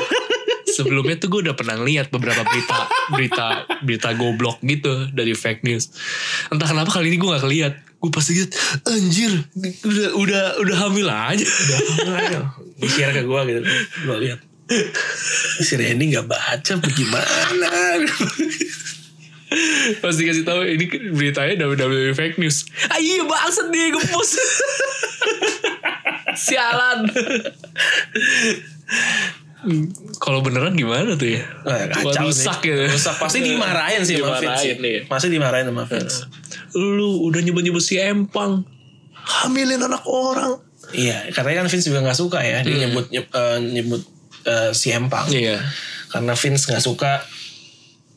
B: Sebelumnya tuh gue udah pernah lihat beberapa berita berita berita goblok gitu dari fake news. Entah kenapa kali ini gue gak keliat. Gue pasti lihat anjir udah udah udah hamil aja.
A: di share ke gue gitu gue lihat si Randy nggak baca bagaimana
B: pasti kasih tahu ini beritanya WWE fake news. Ah, iya bangsat dia gempus. Sialan. Hmm, Kalau beneran gimana tuh ya?
A: Eh, kacau sih.
B: Rusak gitu.
A: rusak pasti dimarahin sih sama Vince
B: Dimarahin, iya.
A: pasti dimarahin sama Vince
B: lu udah nyoba-nyoba si empang hamilin anak orang
A: Iya, katanya kan Vince juga nggak suka ya. Dia nyebut nyeb- eh, nyebut eh, si Empang
B: Hmm. iya
A: karena Vince nggak suka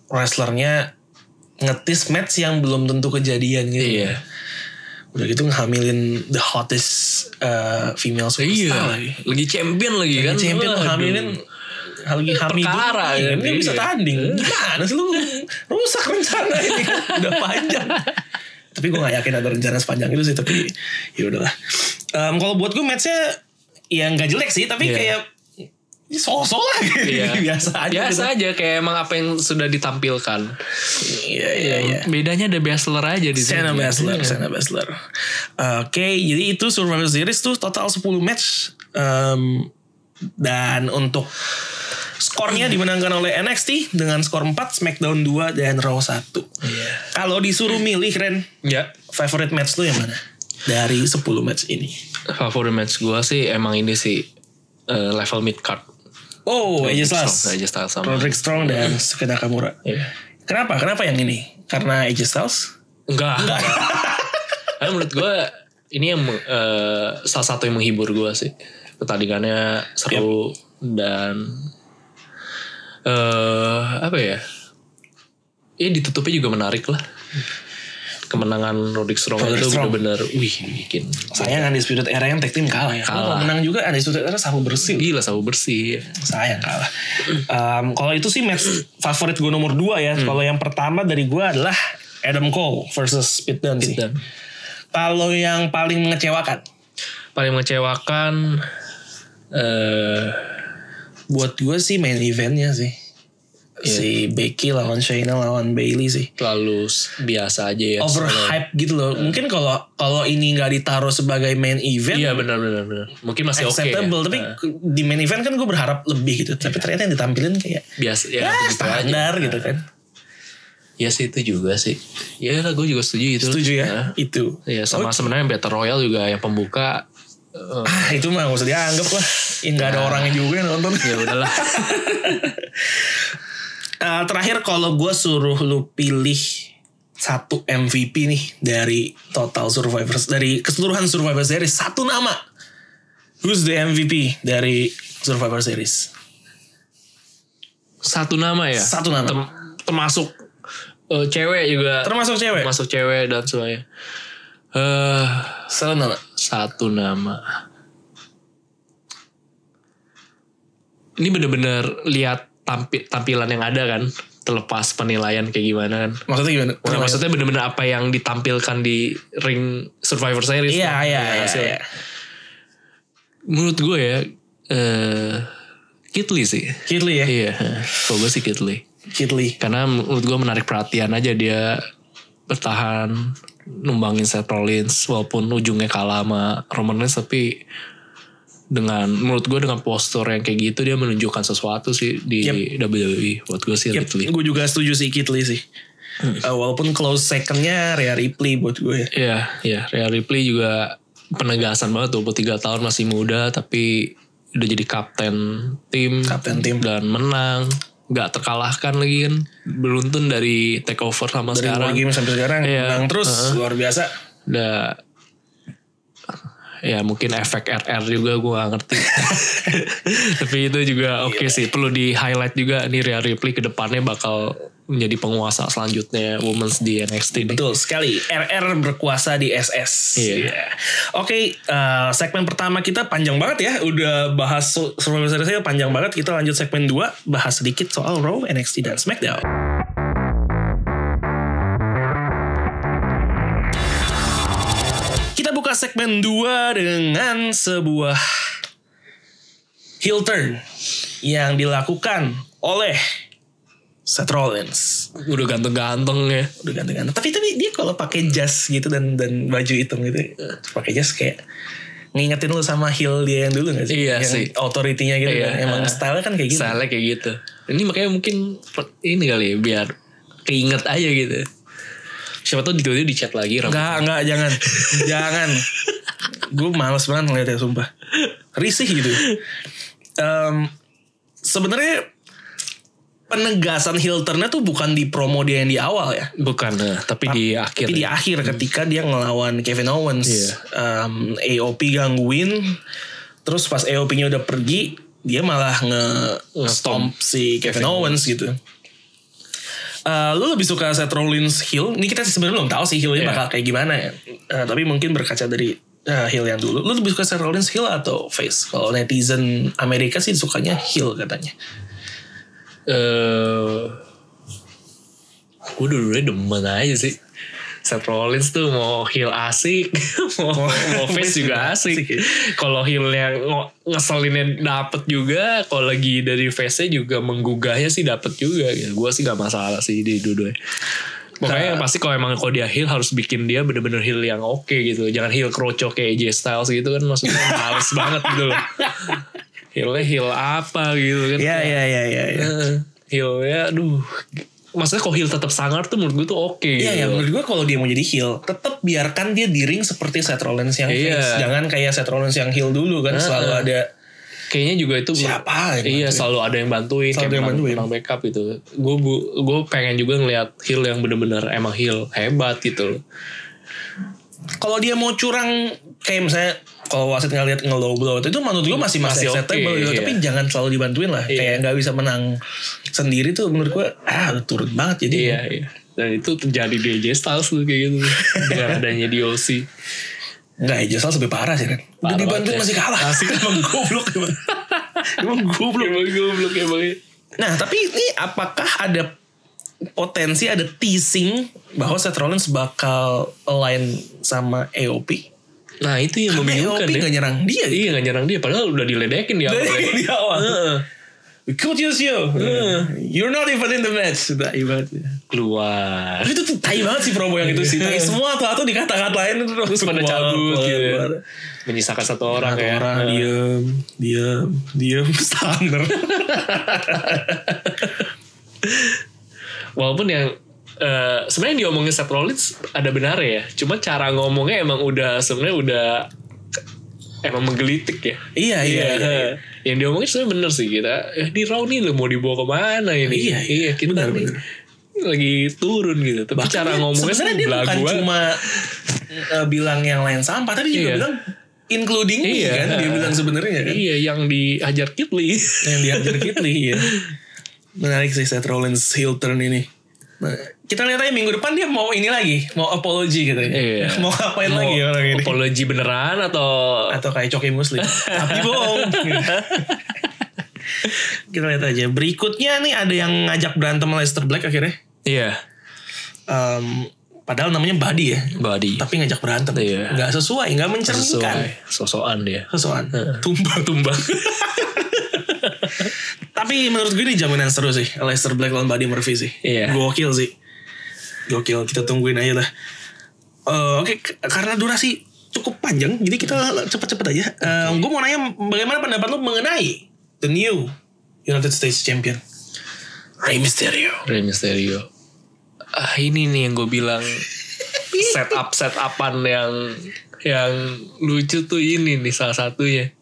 A: wrestlernya ngetis match yang belum tentu kejadian gitu.
B: iya
A: Udah gitu ngehamilin the hottest eh, female superstar lagi.
B: Iya. lagi champion lagi kan
A: Champion
B: Waduh.
A: hamilin lagi hamil
B: Perkara,
A: iya,
B: ya,
A: dia bisa
B: iya.
A: tanding gimana sih lu rusak rencana ini kan udah panjang tapi gue gak yakin ada rencana sepanjang itu sih tapi ya udahlah Em, kalau buat gue matchnya ya nggak jelek sih tapi
B: Iya.
A: kayak ya so-so lah
B: Iya.
A: biasa aja
B: biasa aja kayak emang apa yang sudah ditampilkan
A: gitu. iya iya iya
B: bedanya ada Basler aja di sini
A: Shayna Baszler,
B: iya.
A: Shayna Baszler. Oke, jadi itu Survivor Series tuh total 10 match. Em, dan untuk skornya
B: Iya.
A: dimenangkan oleh NXT dengan skor 4, SmackDown 2, dan Raw 1.
B: Iya.
A: Kalau disuruh milih, Ren,
B: ya
A: favorite match lu yang mana? Dari 10 match ini.
B: favorit match gue sih emang ini sih eh, level mid card
A: Oh, AJ Styles.
B: aja Styles sama
A: Roderick Strong dan Sukeda Nakamura.
B: Iya.
A: Kenapa? Kenapa yang ini? Karena AJ Styles?
B: Enggak. Karena menurut gue ini yang eh, salah satu yang menghibur gue sih. Pertandingannya seru dan eh apa ya? Ya ditutupnya juga menarik lah. Kemenangan Roderick Strong
A: Roderick
B: itu
A: Strong.
B: bener-bener wih bikin
A: Sayang Undisputed Era yang tag team kalah ya. Kalau
B: Iya. Kalah.
A: menang juga Undisputed Era sama bersih.
B: gila sabu bersih.
A: sayang kalah. Em, kalau itu sih match favorit gue nomor 2 ya.
B: Hmm.
A: Kalau yang pertama dari gue adalah Adam Cole versus Pete Dunne sih.
B: Dan
A: Kalau yang paling mengecewakan
B: paling mengecewakan eh
A: buat gue sih main eventnya sih.
B: Iya.
A: Si Becky lawan Shayna lawan Bailey sih.
B: terlalu s- biasa aja ya.
A: Overhype gitu loh. Mungkin kalau kalau ini nggak ditaruh sebagai main event
B: Iya benar-benar benar. Mungkin masih oke. ya.
A: acceptable, tapi
B: Eh,
A: di main event kan gue berharap lebih gitu. Tapi ternyata yang ditampilin kayak
B: biasa ya,
A: "Ah,
B: gitu aja.
A: standar gitu kan.
B: Ya sih itu juga sih. Ya lah gue juga setuju itu.
A: Setuju ya? Oh.
B: Nah,
A: Itu.
B: Iya sama sebenarnya Battle Royale juga yang pembuka. eh,
A: Ah, itu mah gak usah dianggap lah. Ya, nggak
B: Nah.
A: ada orangnya juga yang nonton.
B: ya udahlah.
A: Eh, terakhir kalau gue suruh lu pilih satu MVP nih dari total Survivor dari keseluruhan Survivor Series satu nama. Who's the MVP dari Survivor Series?
B: Satu nama ya.
A: Satu nama.
B: Tem- termasuk eh, cewek juga.
A: Termasuk cewek.
B: Termasuk cewek dan semuanya. Eh
A: Satu nama.
B: satu nama. Ini bener-bener lihat tampi- tampilan yang ada kan. terlepas penilaian kayak gimana kan.
C: Maksudnya gimana?
B: Nah, maksudnya bener-bener apa yang ditampilkan di ring Survivor Series.
A: Iya, iya,
B: kan? Ya,
A: iya,
B: hasil.
A: iya.
B: Menurut gue ya, eh Kitli sih.
A: Kitli ya.
B: Iya, kalau gue sih Kitli.
A: Kitli.
B: Karena menurut gue menarik perhatian aja dia bertahan numbangin Seth Rollins walaupun ujungnya kalah sama Roman Reigns tapi dengan menurut gue dengan postur yang kayak gitu dia menunjukkan sesuatu sih di WWE buat gue sih
A: Yep,
B: Ridley.
A: gue juga setuju sih Kitli sih.
B: Hmm.
A: Eh, walaupun close secondnya Rhea Ripley buat gue ya.
B: Iya, iya. Rhea Ripley juga penegasan banget 23 tahun masih muda tapi udah jadi kapten tim.
A: Kapten tim.
B: Dan menang. Gak terkalahkan lagi kan. Beruntun dari takeover sama
A: Dari
B: sekarang.
A: War Game sampai sekarang
B: Iya.
A: menang terus luar biasa.
B: Udah ya mungkin efek RR juga gue gak ngerti tapi itu
A: Iya,
B: juga oke sih perlu di highlight juga nih Rhea Ripley kedepannya bakal menjadi penguasa selanjutnya Women's di NXT nih.
A: Betul sekali. RR berkuasa di SS.
B: Iya.
A: Iya. Oke, eh, segmen pertama kita panjang banget ya. Udah bahas Sur- Survivor Series aja panjang banget. Kita lanjut segmen 2 bahas sedikit soal Raw, NXT dan SmackDown. Kita buka segmen 2 dengan sebuah heel turn yang dilakukan oleh Seth Rollins
B: udah ganteng-ganteng ya
A: udah ganteng-ganteng. Tapi tapi dia kalau pakai jas gitu dan dan baju hitam gitu, pakai jas kayak ngingetin lu sama heel dia yang dulu gak sih?
B: Iya
A: yang
B: sih.
A: Autoritinya gitu
B: Iya,
A: kan. Emang
B: ah.
A: style kan kayak gitu.
B: Style-nya kayak gitu. Ini makanya mungkin per- ini kali ya, biar keinget aja gitu. Siapa tahu tiba-tiba dicat lagi rambut.
A: Enggak, enggak, jangan. jangan. Gue males banget ngeliatnya, sumpah. Risih gitu. Em, Sebenarnya penegasan heel turn-nya tuh bukan di promo dia yang di awal ya.
B: Bukan, nah, tapi di akhir. ya. Hmm.
A: Tapi di akhir ketika dia ngelawan Kevin Owens,
B: Iya.
A: Em, AOP gangguin, terus pas AOP-nya udah pergi, dia malah nge stomp si Kevin, Owens gitu. Eh, lu lebih suka Seth Rollins heel? Ini kita sebenarnya belum tahu sih heelnya
B: Iya.
A: bakal kayak gimana ya. Eh, tapi mungkin berkaca dari eh, heel yang dulu. Lu lebih suka Seth Rollins heel atau face? Kalau netizen Amerika sih sukanya heel katanya.
B: eh gue dulu-dulu demen aja sih. Seth Rollins tuh mau heel asik, mau, mau face juga asik. Kalau heelnya ngo- ngeselinnya dapet juga, kalau lagi dari face-nya juga menggugahnya sih dapet juga. Gitu. Gue sih gak masalah sih di dua Pokoknya yang pasti kalau emang kalau dia heel harus bikin dia bener-bener heel yang oke gitu. Jangan heel kroco kayak AJ Styles gitu kan maksudnya males banget gitu loh. Heelnya heel apa gitu kan.
A: Iya, iya, iya, iya. iya.
B: Heeh. Heel ya aduh. Maksudnya kalau heel tetap sangar tuh menurut gue tuh oke
A: Iya ya
B: gitu.
A: menurut gue kalau dia mau jadi heel tetap biarkan dia di ring seperti Seth Rollins yang
B: Iya.
A: face. Jangan kayak Seth Rollins yang heel dulu kan selalu ada
B: Kayaknya juga itu
A: siapa gitu.
B: Iya selalu ada yang bantuin
A: Selalu ada yang bantuin.
B: menang backup gitu Gue gue pengen juga ngeliat heel yang bener-bener emang heel Hebat gitu loh
A: Kalau dia mau curang kayak misalnya kalau wasit ngeliat nge low blow itu menurut gue masih masih
B: Masih oke,
A: acceptable gitu.
B: iya.
A: Tapi jangan selalu dibantuin lah. Kayak nggak bisa menang sendiri tuh menurut gue ah udah turut banget jadi.
B: Iya iya Dan itu terjadi di AJ Styles tuh kayak gitu Dengan adanya DOC
A: Enggak ya Styles lebih parah sih kan. Udah
B: Parah
A: dibantuin
B: banget ya.
A: masih kalah.
B: Masih kalah.
A: emang goblok emang. emang goblok.
B: Emang goblok emangnya
A: Nah, tapi ini apakah ada potensi ada teasing bahwa Seth Rollins bakal align sama AOP?
B: Nah itu yang membingungkan
A: AOP
B: ya
A: gak nyerang dia. gitu.
B: Iya gak nyerang dia Padahal udah diledekin dia awalnya.
A: Di awal.
B: Heeh.
A: We could use you. You're not even in the match. Tai banget.
B: Keluar
A: Tapi itu tuh tai banget sih promo yang itu sih. Tai semua atau atau dikata-katain
B: terus pada
A: keluar, keluar,
B: cabut gitu
A: keluar.
B: menyisakan satu orang
A: Satu
B: ya
A: iya. orang
B: Eh,
A: diem, diem, diem standar.
B: walaupun yang eh, sebenarnya yang diomongin Seth Rollins ada benar ya cuma cara ngomongnya emang udah sebenarnya udah emang menggelitik ya
A: iya, iya, iya.
B: eh, yang diomongin sebenarnya bener sih kita eh, di Raw nih lu mau dibawa kemana ini
A: Iya, iya.
B: kita
A: Benar,
B: nih
A: benar.
B: lagi turun gitu tapi cara ngomongnya
A: sebenarnya dia bukan
B: belagu banget.
A: cuma eh, bilang yang lain sampah tapi juga
B: Iya.
A: bilang including me
B: Iya.
A: kan dia bilang sebenarnya kan
B: iya yang diajar Kitli
A: yang dihajar Kitli ya menarik sih Seth Rollins heel turn ini Nah, kita lihat aja minggu depan dia mau ini lagi mau apology gitu
B: Iya.
A: mau ngapain
B: Mau
A: lagi orang ini
B: apology beneran atau
A: atau kayak coki muslim tapi bohong Kita lihat aja. Berikutnya nih ada yang ngajak berantem Leicester Black akhirnya.
B: Iya,
A: Em, padahal namanya Buddy ya.
B: body.
A: Tapi kan ngajak berantem.
B: Iya.
A: Nggak sesuai, nggak mencerminkan.
B: Sesuai. Sosokan dia.
A: Sesuai. Tumbang.
B: Tumbang.
A: Tapi menurut gue ini jaminan seru sih. Leicester Black lawan Buddy Murphy sih.
B: Iya.
A: Gokil sih. Gokil. Kita tungguin aja lah. Eh, Oke, k- karena durasi cukup panjang, jadi kita cepet-cepet aja. Eh, gue mau nanya, bagaimana pendapat lo mengenai the new United States Champion Rey Mysterio?
B: Rey Mysterio. Ah, ini nih yang gue bilang setup setupan yang yang lucu tuh ini nih salah satunya.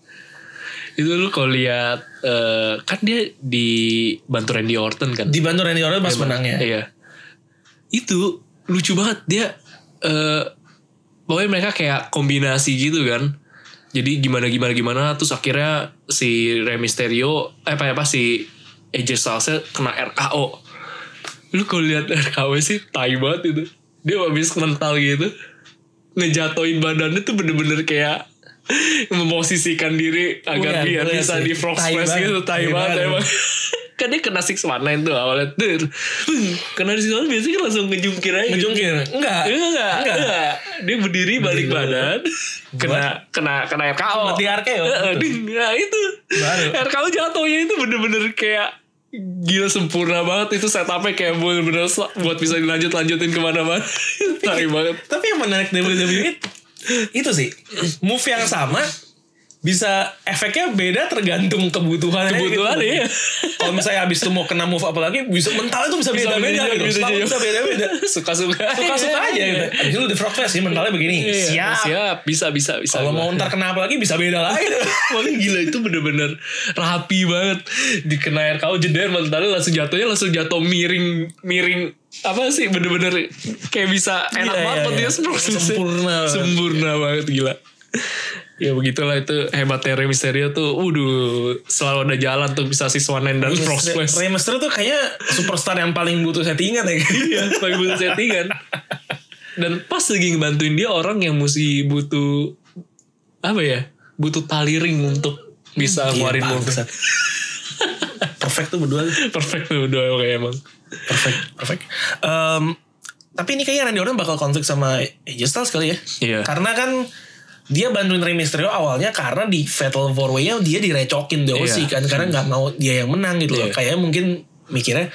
B: Itu lu kalau lihat eh, kan dia dibantu Randy Orton kan.
A: Dibantu Randy Orton pas menangnya.
B: Iya. Itu lucu banget dia eh pokoknya mereka kayak kombinasi gitu kan. Jadi gimana gimana gimana terus akhirnya si Rey Mysterio eh apa apa si AJ Styles kena RKO. Lu kalau lihat RKO sih tai banget itu. Dia habis mental gitu. Ngejatoin badannya tuh bener-bener kayak memposisikan diri agar
A: Bukan,
B: biar
A: bukan
B: bisa
A: iya sih.
B: di frog
A: Tai
B: splash
A: banget.
B: gitu tai
A: Tai
B: banget
A: banget.
B: emang kan dia kena 619 tuh awalnya tuh kena di situ biasanya kan langsung ngejungkir aja gitu.
A: Ngejungkir? Enggak.
B: Enggak, enggak,
A: Enggak.
B: enggak. Dia berdiri balik
A: Berdiri.
B: badan, kena kena kena RKO.
A: Mati RKO,
B: Heeh,
A: gitu.
B: ding. Nah, itu.
A: Baru.
B: RKO jatuhnya itu bener-bener kayak gila sempurna banget itu setupnya kayak bener-bener sel- buat bisa dilanjut lanjutin kemana-mana. Tarik banget.
A: Tapi yang menarik WWE E itu sih move yang sama bisa efeknya beda tergantung kebutuhan
B: Kebutuhan iya.
A: Kalau misalnya abis itu mau kena move apalagi bisa mentalnya tuh bisa beda-beda gitu. Selalu bisa beda-beda.
B: Suka-suka.
A: Suka-suka aja gitu. Abis itu di frog fest sih mentalnya begini.
B: Iya,
A: Siap.
B: Siap, bisa bisa bisa.
A: Kalau
B: gua.
A: mau ntar kena apa lagi bisa beda lagi.
B: Paling gila itu bener-bener rapi banget dikena RKO jeder mentalnya langsung jatuhnya langsung jatuh miring miring apa sih bener-bener kayak bisa
A: Iya,
B: enak banget
A: iya,
B: pentingnya
A: iya.
B: semprot.
A: Sempurna banget.
B: sempurna banget gila ya begitulah itu hebatnya Rey Mysterio tuh waduh selalu ada jalan tuh bisa siswanen dan frog splash
A: Rey Mysterio tuh kayaknya superstar yang paling butuh settingan ya.
B: Iya, pakai butuh settingan. Dan pas lagi ngebantuin dia orang yang mesti butuh apa ya? Butuh tali ring untuk bisa
A: Iya,
B: ngeluarin move.
A: bangsat. Perfect tuh berdua.
B: Perfect tuh udah kayak emang.
A: Perfect, perfect. Em, tapi ini kayaknya Randy Orton bakal konflik sama AJ Styles kali ya.
B: Iya.
A: Karena kan dia bantuin Rey Mysterio awalnya karena di Fatal 4 Way-nya dia direcokin
B: Iya.
A: Dosi kan. Karena nggak mau dia yang menang gitu loh.
B: Iya.
A: Kayaknya mungkin mikirnya,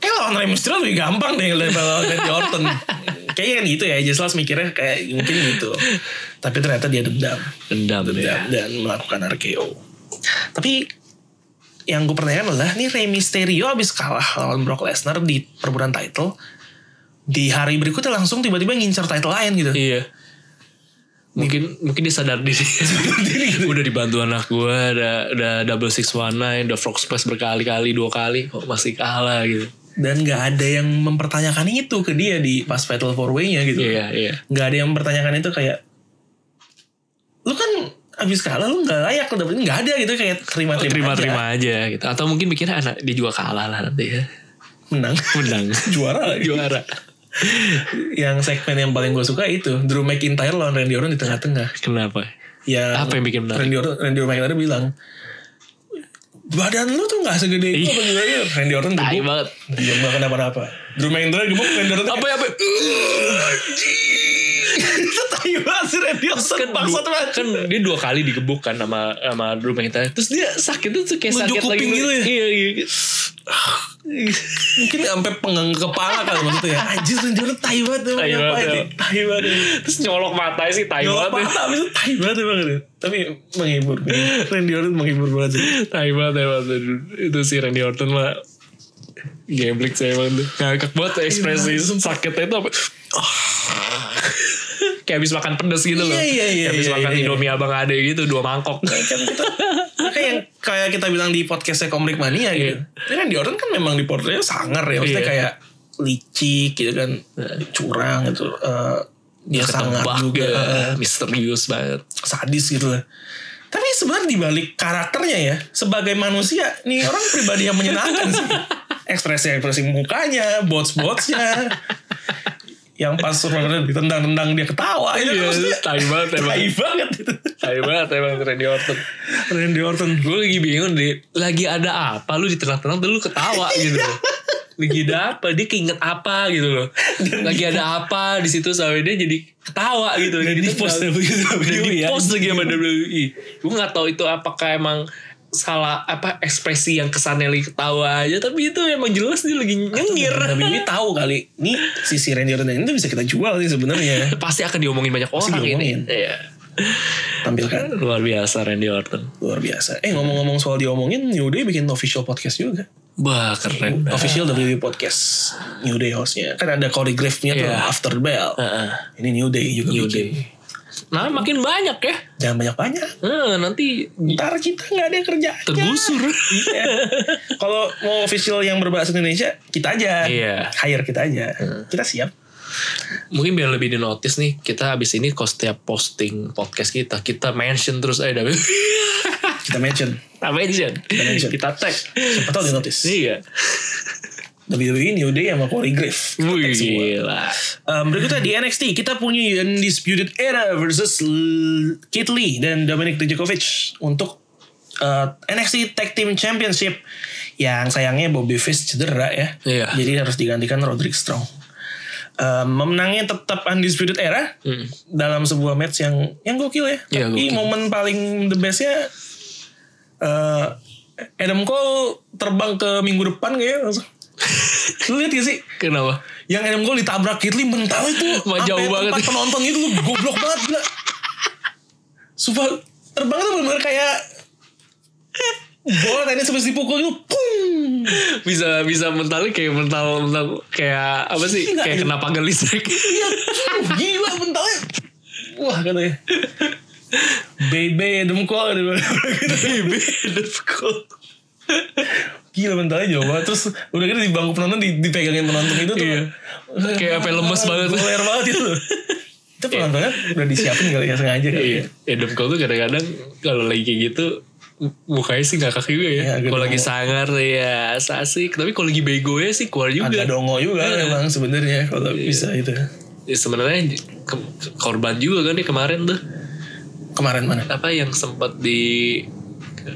A: eh lawan Rey Mysterio lebih gampang deh daripada lawan Randy Orton. kayaknya kan gitu ya, AJ Styles mikirnya kayak mungkin gitu. Tapi ternyata dia dendam
B: Dendam
A: dan,
B: ya.
A: dan melakukan RKO. Tapi yang gue pertanyakan adalah nih Rey Mysterio abis kalah lawan Brock Lesnar di perburuan title di hari berikutnya langsung tiba-tiba ngincer title lain gitu.
B: Iya. Mungkin mungkin dia sadar diri. udah dibantu anak gue, udah, udah double six one nine, udah frog splash berkali-kali dua kali kok masih kalah gitu.
A: Dan gak ada yang mempertanyakan itu ke dia di pas Fatal 4 Way-nya gitu.
B: Iya iya.
A: Gak ada yang mempertanyakan itu kayak lu kan abis kalah lu gak layak lu dapetin gak ada gitu kayak terima-terima aja.
B: Terima-terima aja gitu. Atau mungkin mikirnya anak dia juga kalah lah nanti ya.
A: menang
B: Menang.
A: juara lagi.
B: Juara.
A: yang segmen yang paling gue suka itu Drew McIntyre lawan Randy Orton di tengah-tengah
B: Kenapa?
A: ya
B: Apa yang bikin menarik?
A: Randy Orton Randy McIntyre bilang badan lu tuh gak segede itu apa gimana ya?" Randy Orton
B: Iya. Tai
A: gebuk
B: banget.
A: dia gak kenapa-napa Drew McIntyre gebuk Randy Orton
B: Apa ya, apa? ya?
A: itu tai banget sih Randy Orton
B: Kan,
A: bangsat
B: dua-
A: banget
B: kan dia dua kali digebuk kan sama sama Drew McIntyre. Terus dia sakit tuh kayak
A: Nunjuk
B: sakit lagi.
A: kuping gitu ya?
B: Iya, iya.
A: mungkin sampai penggang ke kepala kan maksudnya ya anjir Randy Orton tai banget emang
B: Tai banget,
A: ngapain
B: ya.
A: ya? tai banget
B: Terus nyolok mata sih tai
A: Gak
B: banget. ya.
A: patah abis itu tai banget emang dia. tapi menghibur Randy Orton menghibur banget sih
B: Tai banget tai banget. Itu si Randy Orton mah Geblik saya emang tuh Ngakak banget ya ekspresi
A: Iya.
B: sakitnya itu apa Kayak habis makan pedes gitu loh
A: Iya, iya, iya,
B: Kayak habis
A: iya,
B: makan
A: iya, iya.
B: indomie abang ade gitu Dua mangkok
A: kan kita kayak yang kayak kita bilang di podcastnya Komrik Mania gitu. Ini kan di orang kan memang di portrayal sangar ya, maksudnya
B: Iya.
A: kayak licik gitu kan, curang gitu. Eh, dia sangar
B: Ketebak
A: juga,
B: ya,
A: eh,
B: Misterius banget
A: sadis gitu lah. Tapi sebenarnya dibalik karakternya ya, sebagai manusia, nih orang pribadi yang menyenangkan sih. Ekspresi-ekspresi mukanya, bots-botsnya. yang pas Survivor ditendang-tendang dia ketawa itu
B: Iya,
A: kan maksudnya
B: tai banget emang.
A: tai banget gitu. itu.
B: Tai banget emang Randy Orton.
A: Randy Orton
B: Gue lagi bingung deh, lagi ada apa lu di tengah-tengah tuh lu ketawa
A: Iya.
B: gitu. lagi ada apa dia keinget apa gitu loh lagi ada apa di situ sampai dia jadi ketawa gitu
A: dan
B: Jadi
A: di post
B: tendang. Dan
A: WWE
B: di
A: ya.
B: post lagi sama WWE gue nggak tahu itu apakah emang salah apa ekspresi yang kesannya lagi ketawa aja tapi itu emang jelas dia lagi nyengir
A: WWE tahu kali ini sisi Randy Orton ini tuh bisa kita jual sih sebenarnya
B: pasti akan diomongin banyak orang
A: diomongin.
B: ini Iya.
A: tampilkan
B: luar biasa Randy Orton
A: luar biasa eh ngomong-ngomong soal diomongin New Day bikin official podcast juga
B: wah keren banget.
A: official WWE podcast New Day hostnya kan ada Corey Graves-nya tuh
B: Iya.
A: After Bell
B: Heeh.
A: ini New Day juga
B: New
A: bikin
B: Day. Iya, nah makin banyak ya
A: jangan banyak-banyak
B: Eh, nanti
A: ntar kita nggak ada kerja
B: tergusur
A: Iya. Kalau mau official yang berbahasa Indonesia, kita aja.
B: Iya. Hmm.
A: Hire kita aja. Kita siap.
B: mungkin biar lebih di notice nih kita abis ini kok setiap posting podcast kita kita mention terus eh W
A: Kita mention.
B: kita mention
A: mention.
B: kita tag
A: Siapa tahu di notice.
B: iya
A: WWE New Day sama Corey Griff.
B: Wih, gila
A: Um, berikutnya di NXT kita punya Undisputed Era versus L- Keith Lee dan Dominic Dijakovic untuk uh, NXT Tag Team Championship yang sayangnya Bobby Fish cedera ya.
B: Iya.
A: Jadi harus digantikan Roderick Strong. Um, memenangnya tetap Undisputed Era dalam sebuah match yang yang gokil ya.
B: Hmm. Iya,
A: Tapi
B: gokil.
A: momen paling the bestnya eh Adam Cole terbang ke minggu depan kayaknya langsung. Lu lihat gak sih?
B: kenapa
A: Yang Adam Cole ditabrak Kitli mental itu
B: Wah, jauh
A: sampai
B: banget.
A: tempat penonton itu lu goblok banget gila. Sumpah terbang itu benar-benar kayak eh, bola tenis habis dipukul itu pung.
B: bisa bisa mentalnya kayak mental mental kayak apa sih
A: Gila,
B: kayak
A: iya.
B: kenapa pagar listrik
A: Iya, gila mentalnya. Wah, katanya. Bebe Adam Cole dia bilang gitu.
B: baby difficult
A: Gila mentalnya jauh banget Terus udah gitu di bangku penonton di- dipegangin penonton itu tuh Ah,
B: Iya. Kayak apa lemes banget.
A: Goler banget itu Itu penontonnya udah disiapin kali ya sengaja kali ya
B: Iya, Adam Cole tuh kadang-kadang kalau lagi kayak gitu mu- mukanya sih ngakak juga ya.
A: Iya, agak
B: kalau lagi
A: dongo.
B: sangar ya asik, tapi kalau lagi bego ya sih keluar juga. Iya.
A: Agak dongo juga memang sebenarnya kalau bisa itu
B: Ya, sebenarnya ke- ke- korban juga kan dia kemarin tuh
A: Kemarin mana?
B: apa yang sempat di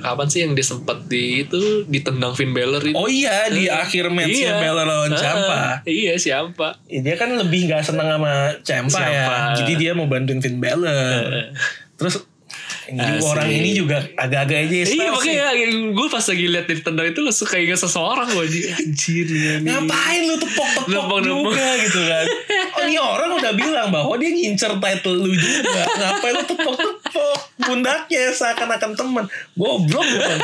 B: kapan sih yang dia sempat di itu ditendang Finn Balor itu.
A: Oh iya di akhir matchnya Bella lawan
B: Ah,
A: Ciampa
B: Iya, siapa?
A: Ya, dia kan lebih nggak seneng sama Ciampa, ya.
B: Ciampa.
A: Jadi dia mau bantuin Finn Balor. Terus ini
B: Asik.
A: orang ini juga agak-agak aja
B: Ah,
A: ya,
B: Iya
A: sih.
B: makanya gue pas lagi lihat ditendang itu langsung kayak ingat seseorang gue anjir
A: iya,
B: ya nih.
A: Ngapain lu tepok-tepok
B: Nepok-nepok.
A: juga gitu kan. Oh ini orang udah bilang bahwa dia ngincer title lu juga. Ngapain lu tepok-tepok pundaknya seakan-akan temen. Goblok lu kan.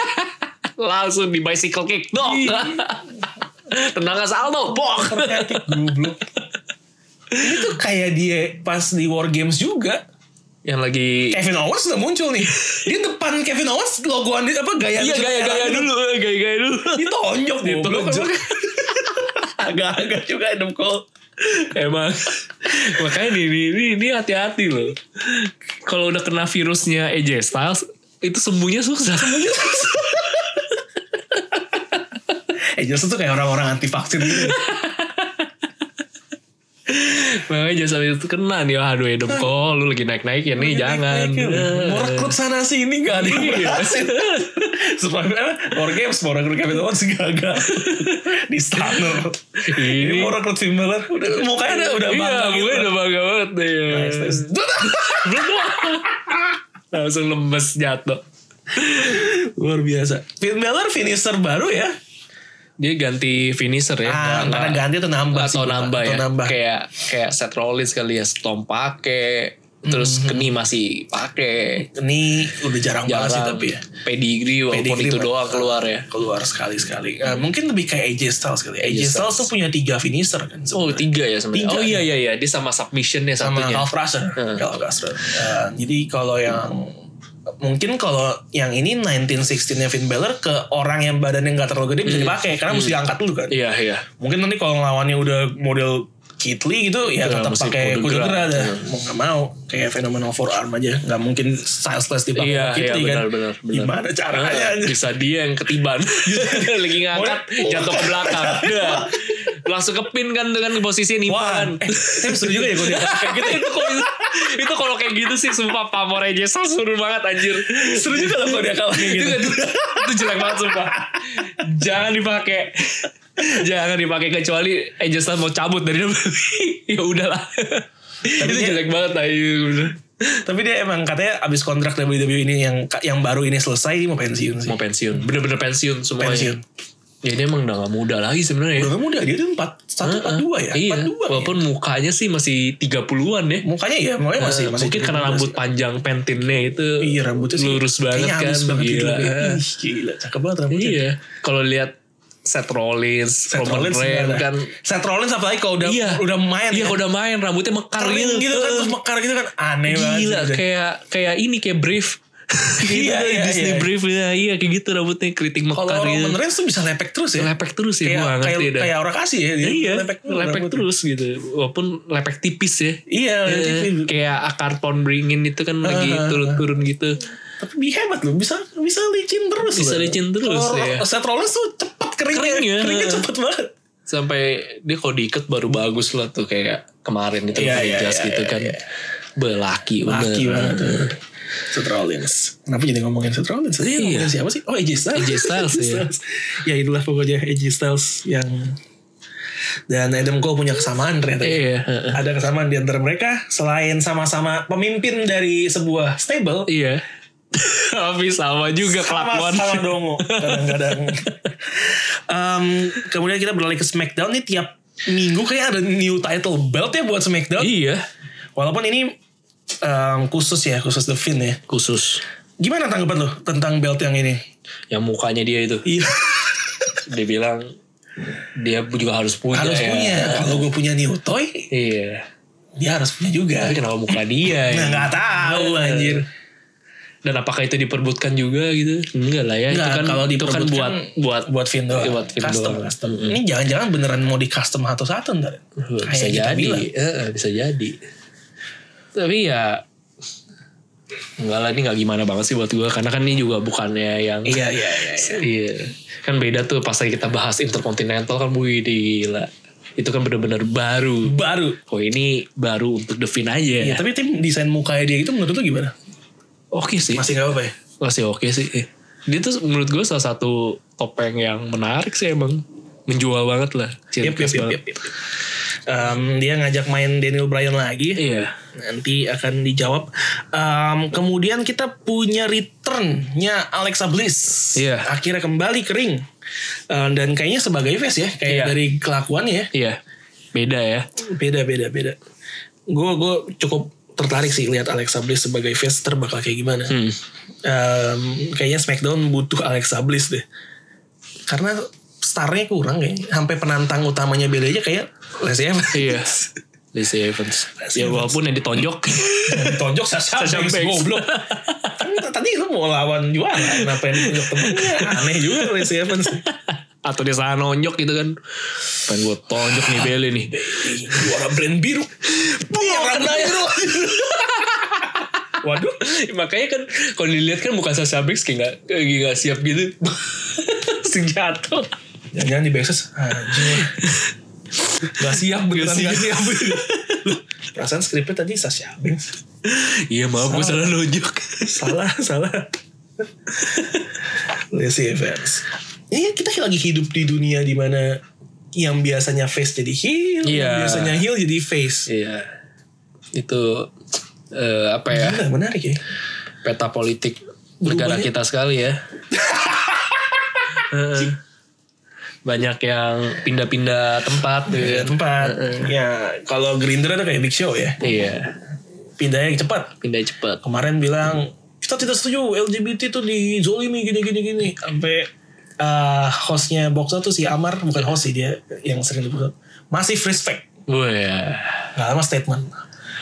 B: langsung di bicycle kick dong
A: Iya.
B: tendangan salto bok
A: Ternyata goblok. Ini tuh kayak dia pas di War Games juga.
B: yang lagi
A: Kevin Owens udah muncul nih. Dia depan Kevin Owens logoan dia apa gaya
B: iya gaya gaya dulu gaya gaya dulu
A: Iya. ditonjok goblok
B: Ditonjok.
A: emang. agak-agak juga Adam Cole
B: emang makanya ini ini, ini, ini hati-hati loh kalau udah kena virusnya AJ Styles itu sembuhnya susah
A: eh Jason tuh kayak orang-orang anti vaksin gitu
B: makanya jangan sampai itu kena nih aduh Adam Cole lu lagi naik naik ya nih jangan Eh. Iya.
A: mau rekrut sana sini gak ada yang berhasil Survivor War Games mau rekrut Kevin Owens gagal di stunner ini
B: Ini-
A: mau rekrut Finn Balor udah mukanya udah udah
B: iya
A: bangga gitu
B: gue udah bangga banget deh
A: Nice, nice.
B: langsung lemes jatuh
A: luar biasa Finn Balor finisher baru ya
B: dia ganti finisher ya
A: ah,
B: Nggak-
A: karena ganti atau nambah sih,
B: atau nambah
A: atau
B: ya
A: nambah
B: kayak kayak set Rollins kali ya Storm pake
A: Mhm.
B: terus Kenny masih pake
A: ini udah jarang, banget sih
B: jarang
A: tapi ya
B: pedigree walaupun
A: Pedigree
B: itu
A: mah-
B: doang keluar ya
A: keluar sekali sekali mungkin lebih kayak AJ Styles kali AJ, Styles.
B: Styles
A: tuh punya tiga finisher kan
B: oh
A: sebenarnya.
B: tiga ya sebenarnya
A: Tiga.
B: oh iya iya iya dia sama submissionnya
A: sama
B: satunya
A: Cal Crusher Cal Crusher. Eh, jadi kalau yang mungkin kalau yang ini 1916 nya Finn Balor ke orang yang badannya nggak terlalu gede bisa dipakai karena mesti diangkat dulu kan
B: Hmm. iya iya
A: mungkin nanti kalau ngelawannya udah model Kitli gitu ya
B: Ya,
A: tetap
B: mesti
A: pakai
B: kudu
A: kuda
B: gerak.
A: gerak
B: Iya.
A: dah mau nggak mau kayak fenomenal forearm aja nggak mungkin styles dipakai
B: iya
A: sama
B: iya
A: Kitli
B: benar
A: kan
B: benar benar
A: gimana caranya
B: Ah,
A: anjir?
B: bisa dia yang ketiban lagi ngangkat
A: Udah.
B: jatuh ke belakang Dah. langsung ke pin kan dengan posisi nih
A: Wah,
B: kan.
A: eh, tapi seru juga ya gue lihat.
B: gitu itu kalau itu kalau kayak gitu sih sumpah pamor aja seru banget anjir.
A: Seru juga loh kalau dia kalah kayak
B: Itu
A: gitu.
B: itu, itu jelek banget sumpah. Jangan dipakai. Jangan dipakai kecuali Ejestan mau cabut dari WWE. ya udahlah. itu
A: dia-
B: jelek banget anjir.
A: Tapi dia emang katanya abis kontrak WWE ini yang yang baru ini selesai dia mau pensiun sih.
B: Mau pensiun, bener-bener pensiun semuanya.
A: Pensiun.
B: Ya dia emang udah gak muda lagi sebenarnya. ya.
A: Udah muda dia tuh empat satu empat dua ya.
B: Iya,
A: Empat dua.
B: walaupun mukanya sih masih 30-an ya.
A: Mukanya ya makanya masih
B: Eh,
A: masih.
B: Mungkin karena
A: 17.
B: rambut panjang pentinnya itu
A: Iya rambutnya sih.
B: lurus banget
A: kayaknya
B: kan.
A: halus banget gitu
B: gila.
A: loh, kayak, Ih, gila, cakep banget rambutnya.
B: Iya. Kalau lihat Seth Rollins,
A: Seth
B: Roman
A: Rollins
B: Reigns
A: sebenarnya.
B: kan.
A: Seth Rollins apalagi kalau udah
B: iya.
A: udah main
B: Iya,
A: ya.
B: kalau udah main rambutnya mekar
A: Kering
B: gitu.
A: gitu kan
B: Eh,
A: terus mekar gitu kan aneh banget.
B: Gila,
A: sih.
B: kayak kayak ini kayak brief.
A: Iya,
B: gitu,
A: iya,
B: Disney
A: iya.
B: brief ya, iya kayak gitu rambutnya keriting
A: Kalau
B: mekar
A: Roman
B: gitu.
A: Reigns tuh bisa lepek terus ya.
B: Lepek terus ya,
A: Kayak
B: gua nggak
A: kayak,
B: ngerti dah.
A: kayak orang kasih ya dia.
B: Iya,
A: Lepek,
B: lepek,
A: mulu rambutnya.
B: terus gitu. Walaupun lepek tipis ya.
A: Iya,
B: Eh,
A: lepek.
B: kayak akar pohon beringin itu kan lagi
A: Ah.
B: turun-turun gitu.
A: tapi dia hebat loh bisa bisa licin terus
B: Bisa
A: loh.
B: licin terus,
A: Kalau
B: ya.
A: Seth Rollins tuh cepet keringnya
B: Kering ya.
A: keringnya cepet banget
B: Sampai dia kalau diikat baru bagus lah tuh kayak kemarin itu
A: Iya,
B: yeah,
A: iya, iya,
B: gitu
A: iya,
B: kan.
A: iya.
B: Belaki bener.
A: laki banget Seth Rollins kenapa jadi ngomongin Seth Rollins tadi
B: Iya.
A: ngomongin siapa sih oh AJ Styles
B: AJ Styles, iya.
A: ya itulah pokoknya AJ Styles yang dan Adam Cole punya kesamaan ternyata
B: Iya, heeh.
A: ada kesamaan di antara mereka selain sama-sama pemimpin dari sebuah stable
B: Iya. Tapi sama juga
A: sama
B: kelakuan.
A: sama dongo kadang-kadang Em, kemudian kita beralih ke Smackdown nih tiap minggu kayak ada new title belt ya buat Smackdown
B: Iya.
A: walaupun ini em, khusus ya khusus The Finn ya
B: Khusus
A: gimana tanggapan lo tentang belt yang ini
B: yang Ya, mukanya dia itu.
A: iya
B: Dia bilang dia juga harus punya.
A: harus
B: ya.
A: punya kalau gue punya new toy
B: Iya.
A: dia harus punya juga
B: Tapi kenapa muka dia?
A: nah
B: ya?
A: nggak tahu anjir
B: Dan apakah itu diperbutkan juga gitu? Enggak lah
A: Nggak,
B: ya. itu kan
A: kalau
B: itu kan
A: diperbutkan-
B: buat buat
A: buat Finn doang
B: Iya, buat Finn
A: custom
B: doang.
A: custom ini jangan-jangan beneran mau di custom satu-satu ntar
B: bisa
A: Kayak kita
B: jadi,
A: bilang.
B: Eh, eh, bisa jadi. Tapi ya enggak lah ini nggak gimana banget sih buat gue karena kan ini juga bukannya yang
A: iya iya iya iya.
B: Iya. kan beda tuh pas lagi kita bahas intercontinental kan wih gila itu kan bener-bener baru
A: baru
B: kok ini baru untuk The Fin
A: Iya,
B: aja
A: tapi tim desain mukanya dia itu menurut lu gimana?
B: oke sih
A: Masih gak apa-apa ya?
B: masih oke sih Eh, dia tuh menurut gue salah satu topeng yang menarik sih emang menjual banget lah Ciri
A: Yep, yep,
B: khas
A: yep,
B: banget.
A: yep, yep. Em, dia ngajak main Daniel Bryan lagi.
B: iya
A: Nanti akan dijawab. Em, kemudian kita punya return-nya Alexa Bliss.
B: Iya.
A: Akhirnya kembali ke ring. Em, dan kayaknya sebagai face ya. Kayak
B: Iya.
A: dari kelakuannya ya.
B: iya beda ya
A: Beda, beda, beda. Gue gue cukup tertarik sih lihat Alexa Bliss sebagai face ter bakal kayak gimana.
B: hmm.
A: Em, kayaknya SmackDown butuh Alexa Bliss deh. Karena starnya kurang kayaknya. Sampai penantang utamanya Bailey aja kayak Leslie Evans.
B: Iya. Lacey Evans.
A: Lacey
B: ya
A: Evans.
B: walaupun yang ditonjok.
A: Tonjok Sasha,
B: Sasha
A: Banks,
B: Banks.
A: goblok. Kan tadi lu mau lawan juara, kenapa yang ditunjuk temennya? Aneh juga Leslie Evans.
B: Atau dia salah nonjok gitu kan. Pengen gue tonjok nih Bailey nih.
A: Ih, Juara brand biru. Buah, kena biru. Waduh.
B: Makanya kan kalau dilihat kan muka Sasha Banks kayak gak, kayak gak siap gitu. Senjata.
A: Jangan-jangan di backstage. Anjir. Gak siap beneran
B: Gak
A: gak siap. Perasaan skripnya tadi Sasha Banks.
B: Iya maaf gue salah nonjok.
A: salah salah Lacey Evans ini kita lagi hidup di dunia dimana yang biasanya face jadi heel yang
B: Iya.
A: biasanya heel jadi face
B: Iya. Itu eh, apa ya
A: Gila, menarik ya
B: peta politik
A: Berubah
B: negara
A: ya.
B: kita sekali ya. Heeh. Banyak yang pindah-pindah tempat gitu
A: Beda
B: kan.
A: Iya, tempat ya kalau Gerindra tuh kayak Big Show ya
B: Iya.
A: pindahnya cepat
B: pindah cepat.
A: kemarin bilang kita tidak setuju LGBT itu dizolimi gini gini gini sampai eh, hostnya Boxer tuh si Amar bukan host sih dia yang sering di Boxer masih respect
B: Wah, iya.
A: Gak lama statement.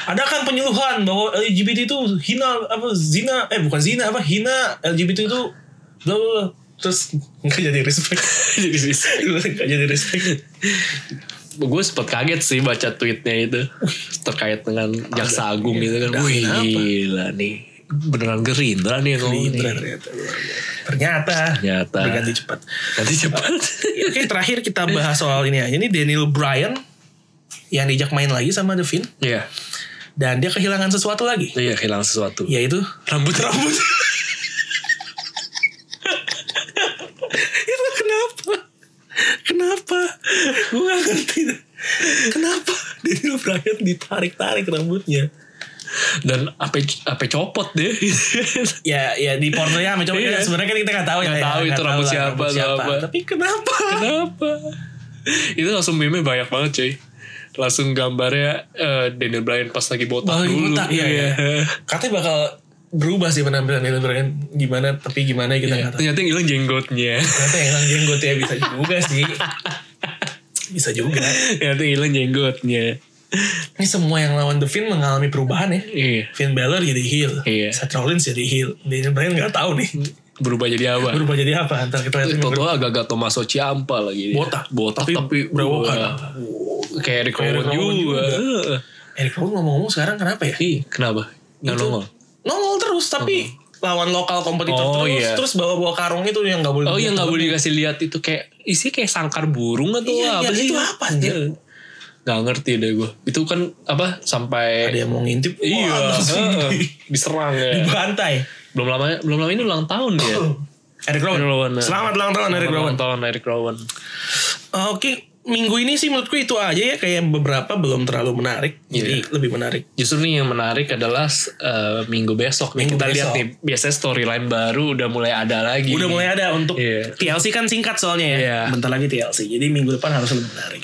A: Ada kan penyuluhan bahwa LGBT itu hina apa zina eh bukan zina apa hina LGBT itu bla bla bla. terus nggak jadi respect
B: jadi sih.
A: nggak jadi respect
B: Gue sempat kaget sih baca tweetnya itu terkait dengan jaksa agung gitu kan. Wih
A: Iya. Nah, kenapa?
B: gila nih. beneran gerindra nih yang ngomong
A: Gerindra
B: nih.
A: ternyata. Ternyata.
B: Ternyata.
A: Berganti cepat.
B: Ganti cepat.
A: Iya, Oke terakhir kita bahas soal ini aja. Ini Daniel Bryan yang diajak main lagi sama Devin
B: Iya.
A: dan dia kehilangan sesuatu lagi.
B: Iya hilang sesuatu.
A: Yaitu
B: Rambut rambut.
A: itu kenapa? Kenapa? Gue gak ngerti. Kenapa Daniel Bryan ditarik-tarik rambutnya?
B: Dan apa apa copot deh.
A: Ya, ya di portonya sama cowok
B: Iya.
A: sebenarnya kan kita gak tahu
B: Nggak
A: ya.
B: tahu
A: nggak
B: itu rambut
A: lah,
B: siapa atau apa.
A: Tapi kenapa?
B: Kenapa? Itu langsung meme banyak banget cuy. Langsung gambarnya eh, Daniel Bryan pas lagi botak
A: Lagi
B: dulu.
A: botak, iya, iya. Katanya bakal berubah sih penampilan Daniel Bryan gimana tapi gimana kita nggak tahu.
B: Ternyata yang hilang jenggotnya.
A: Ternyata yang hilang jenggot ya bisa juga sih. Bisa juga.
B: Ternyata yang hilang jenggotnya.
A: Ini semua yang lawan The Finn mengalami perubahan ya.
B: Iya.
A: Finn Balor jadi heel.
B: Iya.
A: Seth Rollins jadi heel. Daniel Bryan nggak tahu nih.
B: Berubah jadi apa?
A: Berubah jadi apa? Ntar kita lihat.
B: Toto agak-agak Tomaso Ciampa lagi. dia.
A: Botak.
B: Botak
A: Tapi
B: tapi,
A: berewokan.
B: wah, Kayak Rick
A: Kayak
B: Rowan
A: Rick Rowan
B: juga. Heeh.
A: Eric Rowan ngomong-ngomong sekarang kenapa ya?
B: Ih, kenapa? Nggak
A: Gitu.
B: nongol.
A: Nongol terus tapi lawan lokal kompetitor
B: Oh,
A: terus.
B: iya.
A: Terus bawa-bawa karung itu yang nggak boleh.
B: Oh iya nggak boleh dikasih lihat itu kayak isi kayak sangkar burung atau
A: Iya,
B: apa
A: iya,
B: sih?
A: itu apa, anjir?
B: Iya. Nggak ngerti deh gue. Itu kan apa sampai
A: Ada yang mau ngintip. wah,
B: iya
A: langsung
B: heeh,
A: di-
B: diserang ya.
A: dibantai.
B: belum lama belum lama ini ulang tahun ya. dia.
A: Eric Rowan.
B: Eric Rowan, ya.
A: Oh. Selamat ulang tahun Eric Rowan.
B: Ulang tahun Eric Rowan.
A: Ah, Oke, minggu ini sih menurutku itu aja ya kayak beberapa belum terlalu menarik. Jadi
B: Iya.
A: lebih menarik.
B: Justru nih yang menarik adalah eh, minggu besok nih
A: Minggu
B: kita lihat
A: besok.
B: nih biasanya storyline baru udah mulai ada lagi.
A: Udah mulai ada untuk
B: Iya.
A: TLC kan singkat soalnya ya.
B: Iya.
A: Bentar lagi TLC. Jadi minggu depan harus lebih menarik.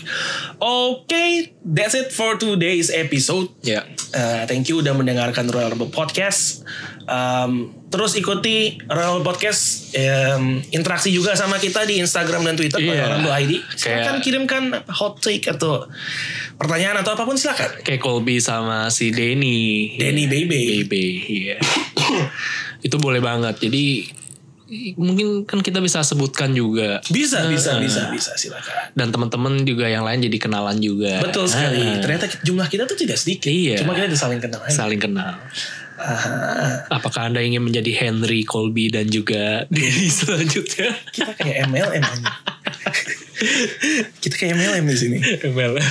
A: Oke, that's it for today's episode.
B: Ya.
A: Eh, thank you udah mendengarkan Royal Rumble Podcast. Um, terus ikuti Royal Rumble Podcast em, interaksi juga sama kita di Instagram dan Twitter
B: Iya.
A: Royal Rumble ID. Silakan
B: Kayak-
A: kirimkan apa, hot take atau pertanyaan atau apapun silakan.
B: Kayak Colby sama si Denny.
A: Denny Baby.
B: BB, iya. itu boleh banget. Jadi mungkin kan kita bisa sebutkan juga
A: Bisa, bisa, bisa, bisa silakan.
B: dan teman-teman juga yang lain jadi kenalan juga.
A: Betul sekali.
B: Ah,
A: Ternyata ki- jumlah kita tuh tidak sedikit.
B: Iya.
A: Cuma kita udah saling kenal aja.
B: saling kenal.
A: Ah,
B: Apakah Anda ingin menjadi Henry Colby dan juga Denny selanjutnya?
A: kita kayak MLM. aja. kita kayak MLM di sini.
B: MLM.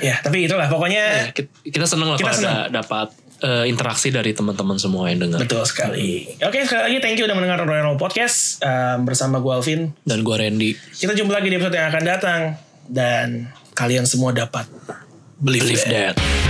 A: Ya, tapi itulah pokoknya
B: Ya, kita- kita senang lah
A: Kita
B: kalau ada dapat eh, interaksi dari teman-teman semua yang dengar.
A: betul sekali. Oke, sekali lagi thank you udah mendengar Royal Rumble Podcast Em, bersama gue Alvin.
B: Dan gue Randy.
A: Kita jumpa lagi di episode yang akan datang dan kalian semua dapat believe,
B: Believe
A: that.
B: that.